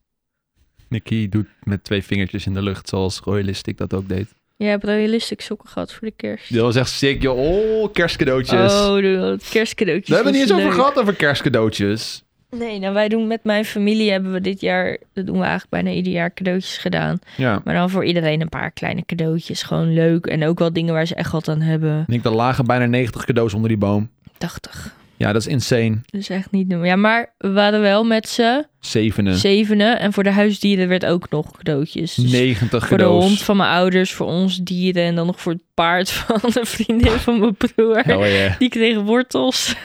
Nicky doet met twee vingertjes in de lucht, zoals Royalistic dat ook deed.
Jij hebt realistisch sokken gehad voor de kerst.
Dat was echt sick, joh. Oh, kerstcadeautjes.
Oh, de kerstcadeautjes.
we hebben het niet eens
was
over
leuk.
gehad over kerstcadeautjes.
Nee, nou wij doen met mijn familie hebben we dit jaar, dat doen we eigenlijk bijna ieder jaar, cadeautjes gedaan.
Ja.
Maar dan voor iedereen een paar kleine cadeautjes. Gewoon leuk. En ook wel dingen waar ze echt wat aan hebben.
Ik denk dat lagen bijna 90 cadeaus onder die boom.
80.
Ja, dat is insane.
Dus echt niet doen. Ja, maar we waren wel met z'n
Zevenen.
zevenen. En voor de huisdieren werd ook nog cadeautjes. Dus
90
voor de
cadeaus.
hond van mijn ouders, voor ons dieren. En dan nog voor het paard van de vriendin van mijn broer.
Hell yeah.
Die kreeg wortels.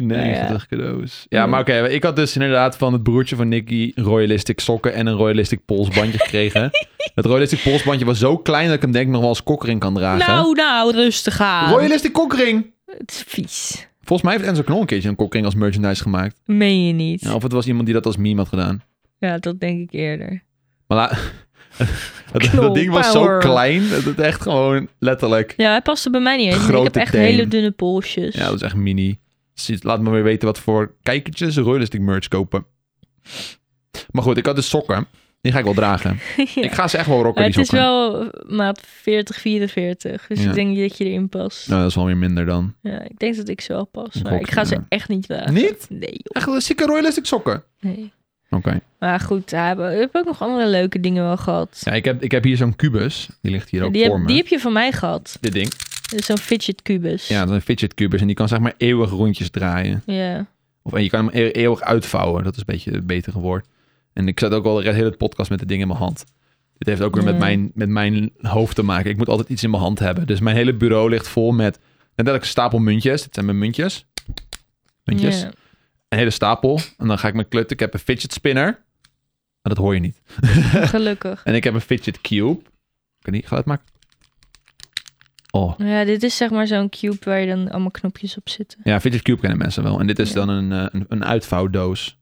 90 cadeaus. Ja, maar oké. ik had dus inderdaad van het broertje van Nicky Royalistic sokken en een Royalistic polsbandje gekregen. dat Royalistic polsbandje was zo klein dat ik hem denk ik nog wel als kokkering kan dragen.
Nou, nou, rustig aan.
Royalistic kokkering!
Het is vies.
Volgens mij heeft Enzo Knol een keertje een kokkering als merchandise gemaakt.
Meen je niet?
Ja, of het was iemand die dat als meme had gedaan.
Ja, dat denk ik eerder.
Maar la- dat, dat
Knol
ding was zo
power.
klein dat het echt gewoon letterlijk...
Ja, hij paste bij mij niet eens. Ik
Grote
heb echt
teen.
hele dunne polsjes.
Ja, dat is echt mini. Dus Laat me weer weten wat voor kijkertjes Royalistic merch kopen. Maar goed, ik had dus sokken. Die ga ik wel dragen.
Ja.
Ik ga ze echt wel rocken,
Maar
die
het is
sokken.
wel eh, maat 40, 44. Dus
Ja.
ik denk dat je erin past. Ja.
Nou, dat is wel weer minder dan.
ik denk dat ik ze wel pas.
Ik
Maar
ook,
ik ga ze
ja.
echt niet dragen.
Niet?
Nee, joh.
Echt een zieke Royalistic sokken. Oké.
Nee. Maar goed, ja, we we hebben ook nog andere leuke dingen wel gehad.
Ja, ik heb, ik heb hier zo'n kubus. Die ligt hier ook
die,
voor
heb,
me.
die heb je van mij gehad.
Dit ding.
Dat is Zo'n fidget kubus.
Ja, dat is een fidget kubus. En die kan zeg maar eeuwig rondjes draaien.
Ja.
Of en je kan hem e- eeuwig uitvouwen. Dat is een beetje het betere woord. En ik zat ook al de hele podcast met dit ding in mijn hand. Dit heeft ook weer met,
Ja.
mijn, met mijn hoofd te maken. Ik moet altijd iets in mijn hand hebben. Dus mijn hele bureau ligt vol met... Net dat ik een stapel muntjes. Dit zijn mijn muntjes. Muntjes.
Ja.
Een hele stapel. En dan ga ik mijn klut. Ik heb een fidget spinner. Maar dat hoor je niet.
Gelukkig.
En ik heb een fidget cube. Kan die geluid maken? Oh.
Ja, dit is zeg maar zo'n cube waar je dan allemaal knopjes op zitten.
Ja, fidget cube kennen mensen wel. En dit is
Ja.
dan een, eh, een, een uitvouwdoos.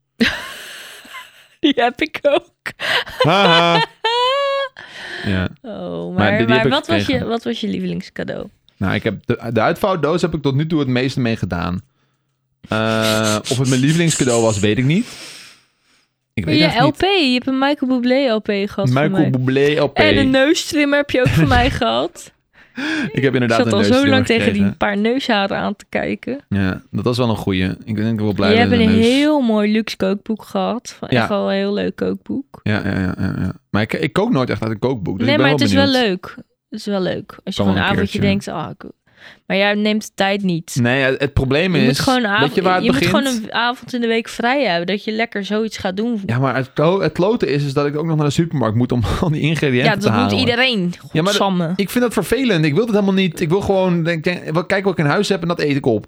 Die heb ik ook.
Haha. ja.
Oh,
Maar
maar,
die- die
maar,
heb ik
wat, was je,
gekregen.
wat was je lievelingscadeau?
Nou, ik heb de, de uitvouwdoos heb ik tot nu toe het meeste mee gedaan. Eh, of het mijn lievelingscadeau was, weet ik niet. Ik weet
je
echt
LP, je hebt een Michael Bublé LP gehad van
niet.
mij.
Michael Bublé LP.
En een neustrimmer heb je ook van mij gehad.
Ik heb
Ik
inderdaad
zat
een
al zo
neustrimmer
lang tegen die
gekregen.
paar neusharen aan te kijken.
Ja, dat was wel een goeie. Ik denk dat ik wel blij
je
ben
hebt
met
een
de neus.
heel mooi luxe kookboek gehad. Van
Ja.
Echt wel een heel leuk kookboek.
Ja, ja, ja, ja, ja. Maar ik, ik kook nooit echt uit een kookboek. Dus
nee,
ik ben
maar het
wel
is
benieuwd.
wel leuk. Het is wel leuk. Als je
Kan wel
gewoon een
een
avondje denkt,
keertje.
ah, ik- maar jij neemt de tijd niet.
Nee, het, het probleem
Je
is...
moet gewoon een,
weet
avond,
je
je
waar het
moet
begint?
gewoon een avond in de week vrij hebben. Dat je lekker zoiets gaat doen. Ja,
Ja, maar het, klo- het kloten is, is dat ik ook nog naar de supermarkt moet om al die ingrediënten te
dat
halen.
moet iedereen.
Ja, maar dat-
Godsamme.
Ik vind dat vervelend. Ik wil dat helemaal niet. Ik wil gewoon denk, denk, wel kijken wat ik in huis heb en dat eet ik op.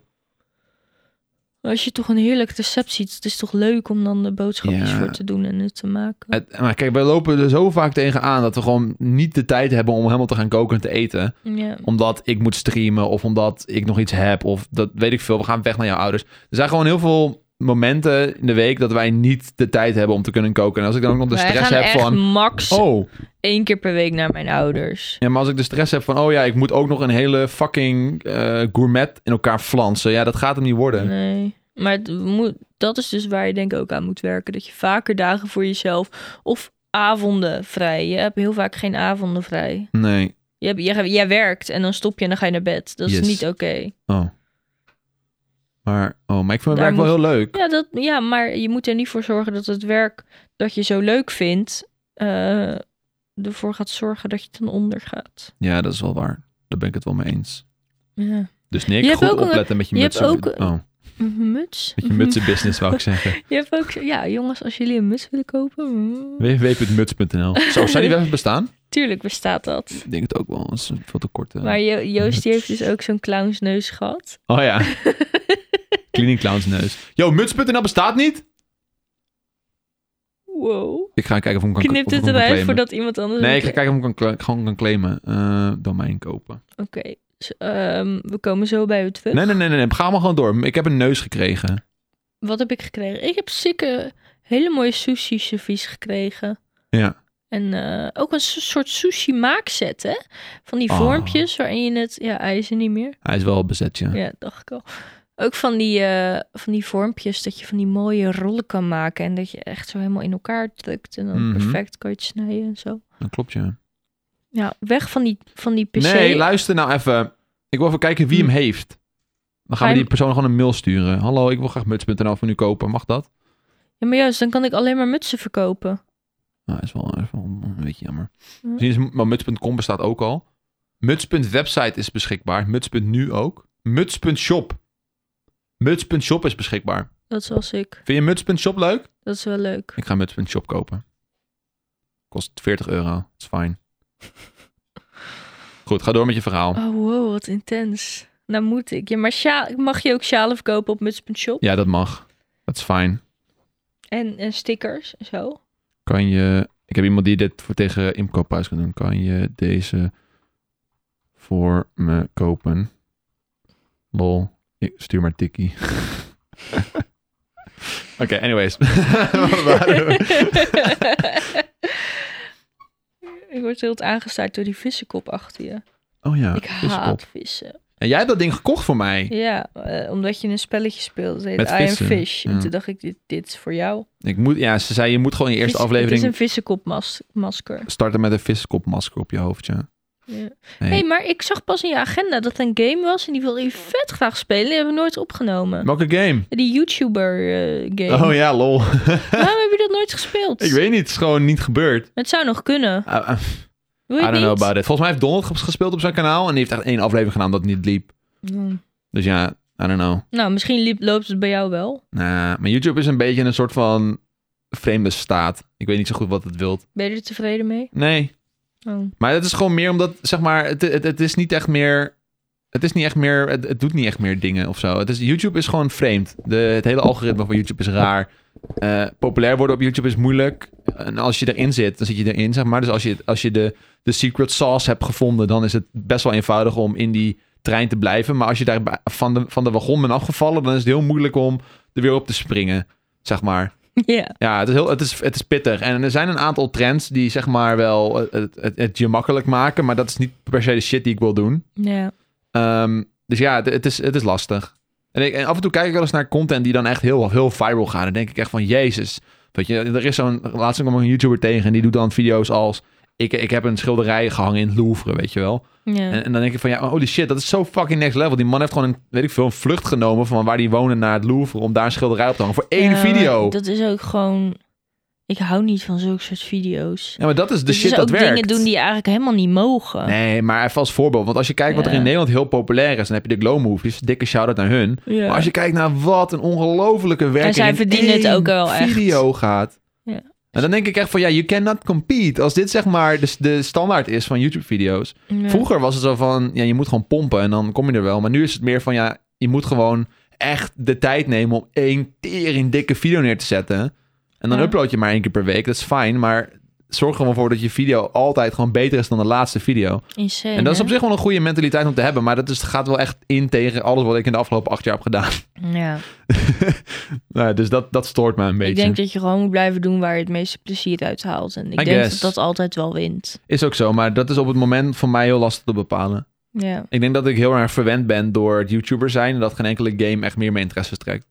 Als je toch een heerlijk recept ziet, het is toch leuk om dan de boodschapjes
Ja. Eh,
voor te doen en het te maken.
Het- maar kijk, wij lopen er zo vaak tegen aan dat we gewoon niet de tijd hebben om helemaal te gaan koken en te eten.
Ja.
Omdat ik moet streamen of omdat ik nog iets heb of dat weet ik veel. We gaan weg naar jouw ouders. Er zijn gewoon heel veel momenten in de week dat wij niet de tijd hebben om te kunnen koken. En als ik dan ook nog de
Wij
stress
gaan
heb
echt
van...
max
Oh,
één keer per week naar mijn ouders.
Ja, maar als ik de stress heb van, oh ja, ik moet ook nog een hele fucking eh, gourmet in elkaar flansen. Ja, dat gaat hem niet worden.
Nee. Maar het moet, dat is dus waar je denk ik ook aan moet werken. Dat je vaker dagen voor jezelf of avonden vrij. Je hebt heel vaak geen avonden vrij.
Nee.
Je hebt, jij, jij werkt en dan stop je en dan ga je naar bed. Dat
Yes.
is niet oké.
Oh. Maar, oh, maar ik vind mijn
Daar
werk wel heel leuk.
Ja, dat, ja, maar je moet er niet voor zorgen dat het werk dat je zo leuk vindt... eh, ervoor gaat zorgen dat je ten onder gaat.
Ja, dat is wel waar. Daar ben ik het wel mee eens.
Ja.
Dus Nick,
Je hebt
goed
ook een-
opletten met je
je
mutsen.
hebt ook-
oh,
Muts.
met je mutsenbusiness wou ik zeggen.
Je hebt ook... Ja, jongens, als jullie een muts willen kopen... mm,
www.muts.nl Zo, zou die wel even bestaan?
Tuurlijk bestaat dat.
Ik denk het ook wel. Dat is veel te kort. eh.
Maar Jo- Joost die heeft dus ook zo'n clownsneus gehad.
Oh ja. Cleaning Clowns neus. Yo, muts.nl bestaat niet?
Wow.
Ik ga kijken of ik hem kan
Knipt
of ik
het
hem kan
eruit
claimen.
voordat iemand anders...
Nee, ik ga
Oké,
kijken of ik hem kan, gewoon kan claimen. Eh, domein kopen.
Oké, Ehm, we komen zo bij u terug.
Nee, nee, nee, nee, nee. Ga maar gewoon door. Ik heb een neus gekregen.
Wat heb ik gekregen? Ik heb zieke, hele mooie sushi servies gekregen.
Ja.
En eh, ook een so- soort sushi maakset, hè? Van die
Ah.
vormpjes waarin je het... Ja, hij is er niet meer.
Hij is wel bezet, ja.
Ja, dacht ik al. Ook van die, eh, van die vormpjes dat je van die mooie rollen kan maken. En dat je echt zo helemaal in elkaar drukt. En dan
Mhm.
perfect kan je het snijden en zo.
Dat klopt, ja.
Ja, weg van die, van die pc.
Nee, luister nou even. Ik wil even kijken wie hem heeft. Dan gaan
Hij-
we die persoon gewoon een mail sturen. Hallo, ik wil graag muts.nl van u kopen. Mag dat?
Ja, maar juist, dan kan ik alleen maar mutsen verkopen.
Nou, is wel, is wel een beetje jammer.
Ja.
Misschien is- Maar muts.com bestaat ook al. Muts.website is beschikbaar. Muts.nu ook. Muts.shop. Muts.shop is beschikbaar.
Dat was ik.
Vind je muts.shop leuk?
Dat is wel leuk.
Ik ga muts.shop kopen. Kost 40 euro. Dat is fijn. Goed, ga door met je verhaal.
Oh, wow, wat intens. Nou moet ik. Ja, maar sja- mag je ook sjalen verkopen op muts.shop?
Ja, dat mag. Dat is fijn.
En, en stickers en zo.
Kan je... Ik heb iemand die dit voor tegen inkoophuis kan doen. Kan je deze voor me kopen? Lol. Ik stuur maar tikkie. Oké, anyways. Waar waren we?
ik word heel aangestaard door die vissenkop achter je.
oh ja,
ik
vissenkop.
haat vissen.
En jij hebt dat ding gekocht voor mij.
Ja, eh, omdat je een spelletje speelt. Het heet
Met
I am
vissen,
Fish.
ja.
En toen dacht ik, dit, dit is voor jou.
Ik moet, ja, ze zei je moet gewoon je eerste
Vis-
aflevering
Het is een vissenkopmasker.
starten met een viskopmasker op je hoofd, ja.
Ja.
Nee.
hey, maar ik zag pas in je agenda dat er een game was en die wilde je vet graag spelen. Die hebben we nooit opgenomen.
Welke game?
Die YouTuber eh, game.
Oh ja, lol.
Waarom heb je dat nooit gespeeld?
ik weet niet, het is gewoon niet gebeurd.
Het zou nog kunnen.
Ah, ah,
Wil
I
je
don't
het
know
niet?
about it. Volgens mij heeft Donald ges- gespeeld op zijn kanaal en die heeft echt één aflevering gedaan dat het niet liep.
Hmm.
Dus ja, I don't know.
Nou, misschien liep, loopt het bij jou wel.
Nah, maar YouTube is een beetje een soort van vreemde staat. Ik weet niet zo goed wat het wilt.
Ben je er tevreden mee?
Nee,
Oh.
maar dat is gewoon meer omdat, zeg maar, het, het, het is niet echt meer... Het is niet echt meer, het, het doet niet echt meer dingen of zo. Het is, YouTube is gewoon vreemd. De, het hele algoritme van YouTube is raar. Eh, populair worden op YouTube is moeilijk. En als je erin zit, dan zit je erin, zeg maar. Dus als je, als je de, de secret sauce hebt gevonden, dan is het best wel eenvoudig om in die trein te blijven. Maar als je daar bij- van de, van de wagon bent afgevallen, dan is het heel moeilijk om er weer op te springen, zeg maar.
Ja.
Ja, het is, heel, het, is, het is pittig. En er zijn een aantal trends die zeg maar wel het, het, het, het je makkelijk maken. Maar dat is niet per se de shit die ik wil doen.
Ja.
Ehm, dus ja, het, het is, het is lastig. En, ik, en af en toe kijk ik wel eens naar content die dan echt heel, heel viral gaat. Dan denk ik echt van, jezus. Weet je, er is zo'n... Laatst kwam ik een YouTuber tegen en die doet dan video's als... Ik, ik heb een schilderij gehangen in het Louvre, weet je wel.
Ja.
En, en dan denk ik van, ja, holy shit, dat is zo fucking next level. Die man heeft gewoon, een, weet ik veel, een vlucht genomen van waar die wonen naar het Louvre... om daar een schilderij op te hangen voor één
Ja, maar
video.
Eh, Dat is ook gewoon... Ik hou niet van zulke soort video's.
Ja, maar dat is de
Dus
shit
is
dat
ook
werkt.
dingen doen die je eigenlijk helemaal niet mogen.
Nee, maar even als voorbeeld. Want als je kijkt wat er
Ah. Ja.
in Nederland heel populair is... dan heb je de Glow Movies. Dikke shout-out naar hun.
Ja.
Maar als je kijkt naar wat een ongelofelijke werking...
zij
in
verdienen het
één
ook wel echt.
video gaat.
Ja.
En dan denk ik echt van... Ja, you cannot compete. Als dit zeg maar de, de standaard is van YouTube-video's.
Ja.
Vroeger was het zo van... Ja, je moet gewoon pompen en dan kom je er wel. Maar nu is het meer van... Ja, je moet gewoon echt de tijd nemen... om één tering dikke video neer te zetten. En dan
Ja.
upload je maar één keer per week. Dat is fijn, maar... Zorg er gewoon voor dat je video altijd gewoon beter is dan de laatste video.
Insane,
En dat is
hè?
op zich wel een goede mentaliteit om te hebben, maar dat is, gaat wel echt in tegen alles wat ik in de afgelopen acht jaar heb gedaan.
Ja.
Nou, dus dat, dat stoort me een beetje.
Ik denk dat je gewoon moet blijven doen waar je het meeste plezier uit haalt. En ik
I
denk
guess.
dat dat altijd wel wint.
Is ook zo, maar dat is op het moment voor mij heel lastig te bepalen.
Ja.
Ik denk dat ik heel erg verwend ben door het YouTuber zijn en dat geen enkele game echt meer mijn interesse trekt.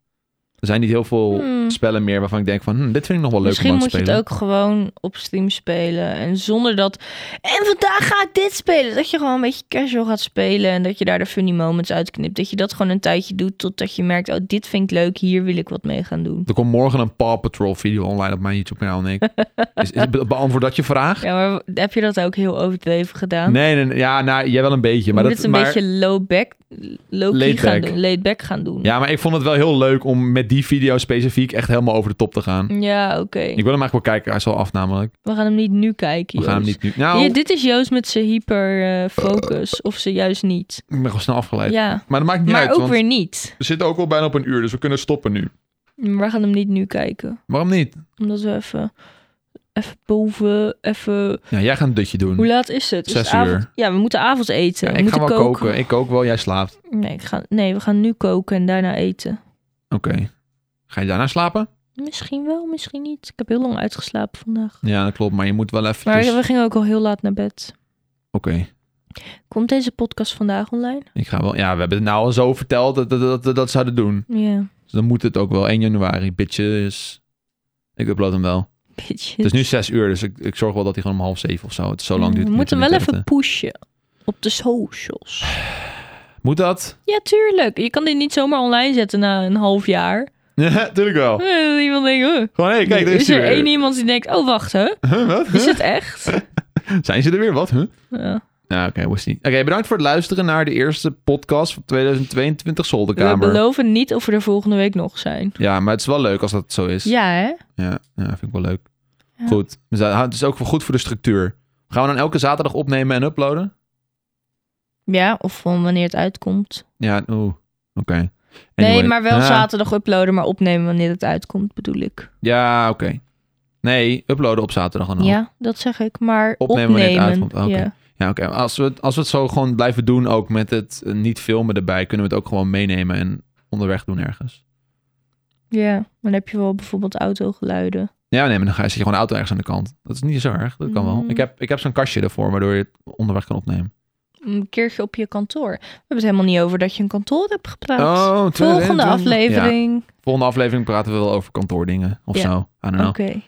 Er zijn niet heel veel
Hmm.
spellen meer waarvan ik denk van, hm, dit vind ik nog wel leuk
Misschien
om aan
moet
te
je het
spelen.
ook gewoon op stream spelen. En zonder dat. En vandaag ga ik dit spelen. Dat je gewoon een beetje casual gaat spelen. En dat je daar de funny moments uitknipt. Dat je dat gewoon een tijdje doet. Totdat je merkt: oh, dit vind ik leuk. Hier wil ik wat mee gaan doen.
Er komt morgen een Paw Patrol video online op mijn YouTube kanaal, Nick. is, is, be- beantwoord dat je vraag?
Ja, maar heb je dat ook heel overdreven gedaan?
Nee, nee, nee, ja, nou, jij wel een beetje.
je
Maar
moet
dat,
het een
maar,
beetje low back. Low key
Laid
gaan
back.
doen. Laid back gaan doen.
Ja, maar ik vond het wel heel leuk om met die video specifiek echt helemaal over de top te gaan.
Ja, oké.
Ik wil hem eigenlijk wel kijken. Hij is al af namelijk.
We gaan hem niet nu kijken.
We gaan hem
Joost.
niet nu... Nou,
Ja, dit is Joost met zijn hyperfocus. of ze juist niet.
ik ben gewoon snel afgeleid.
Ja.
Maar dat maakt niet
Maar
uit,
ook
want
weer niet.
we zitten ook al bijna op een uur, dus we kunnen stoppen nu.
We gaan hem niet nu kijken.
Waarom niet?
Omdat we even even boven, even...
Ja, Nou, jij gaat een dutje doen.
Hoe laat is het? Is
Hm. Zes
het avond?
uur.
Ja, we moeten avond eten.
Ja,
we
ik ga
moeten
wel koken. Ik kook wel, jij slaapt.
Nee, ik ga... nee, we gaan nu koken en daarna eten.
Oké. Ga je daarna slapen?
Misschien wel, misschien niet. Ik heb heel lang uitgeslapen vandaag.
Ja, dat klopt. Maar je moet wel even...
Maar we gingen ook al heel laat naar bed.
Oké.
Komt deze podcast vandaag online?
Ik ga wel... Ja, we hebben het nou al zo verteld dat, dat, dat, dat, dat zouden doen.
Ja,
Dus dan moet het ook wel. 1 januari, bitches. Ik upload hem wel.
beetje.
Het is nu 6 uur, dus ik, ik zorg wel dat hij gewoon om half 7 of zo. Het is zo lang duurt
we
het niet
moeten
om
Mm, wel
dit te
even
editen.
pushen op de socials.
Moet dat?
Ja, tuurlijk. Je kan dit niet zomaar online zetten na een half jaar.
Ja, tuurlijk wel.
Eh, iemand denkt, huh.
Gewoon, hé, Oh. kijk, daar is,
is er
hij weer.
één iemand die denkt, oh wacht, hè?
Huh, wat?
Is het echt?
Zijn ze er weer? Wat? Huh?
Ja.
Ja, oké, was niet. Oké, bedankt voor het luisteren naar de eerste podcast van 2022
We
Zolderkamer.
beloven niet of we er volgende week nog zijn.
Ja, maar het is wel leuk als dat zo is. Ja,
Ja, hè?
ja, vind ik wel leuk.
Ja.
Goed. Dus dat- Het is ook goed voor de structuur. Gaan we dan elke zaterdag opnemen en uploaden?
Ja, of van wanneer het uitkomt.
Ja, oeh. Oké.
Nee,
Anyway. Ah,
maar wel
Ja,
zaterdag uploaden, maar opnemen wanneer het uitkomt, bedoel ik.
Ja, oké. Nee, uploaden op zaterdag dan ook.
Ja, dat zeg ik. Maar
Nou. Opnemen
opnemen.
wanneer het uitkomt, ah, oké.
ja.
Ja, oké. Maar Als, we, het- als we het zo gewoon blijven doen, ook met het eh, niet filmen erbij, kunnen we het ook gewoon meenemen en onderweg doen ergens.
ja, maar dan heb je wel bijvoorbeeld autogeluiden.
Ja, nee, maar dan ga je, zet je gewoon de auto ergens aan de kant. Dat is niet zo erg. Dat kan wel.
Mm.
Ik heb, ik heb zo'n kastje ervoor, waardoor je het onderweg kan opnemen.
Een keertje op je kantoor. We hebben het helemaal niet over dat je een kantoor hebt gepraat.
Oh,
Volgende
22. Ja, Nou.
aflevering.
volgende aflevering praten we wel over kantoordingen of
Ja.
zo. I don't know.
Oké.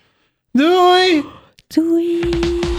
Doei!
Doei.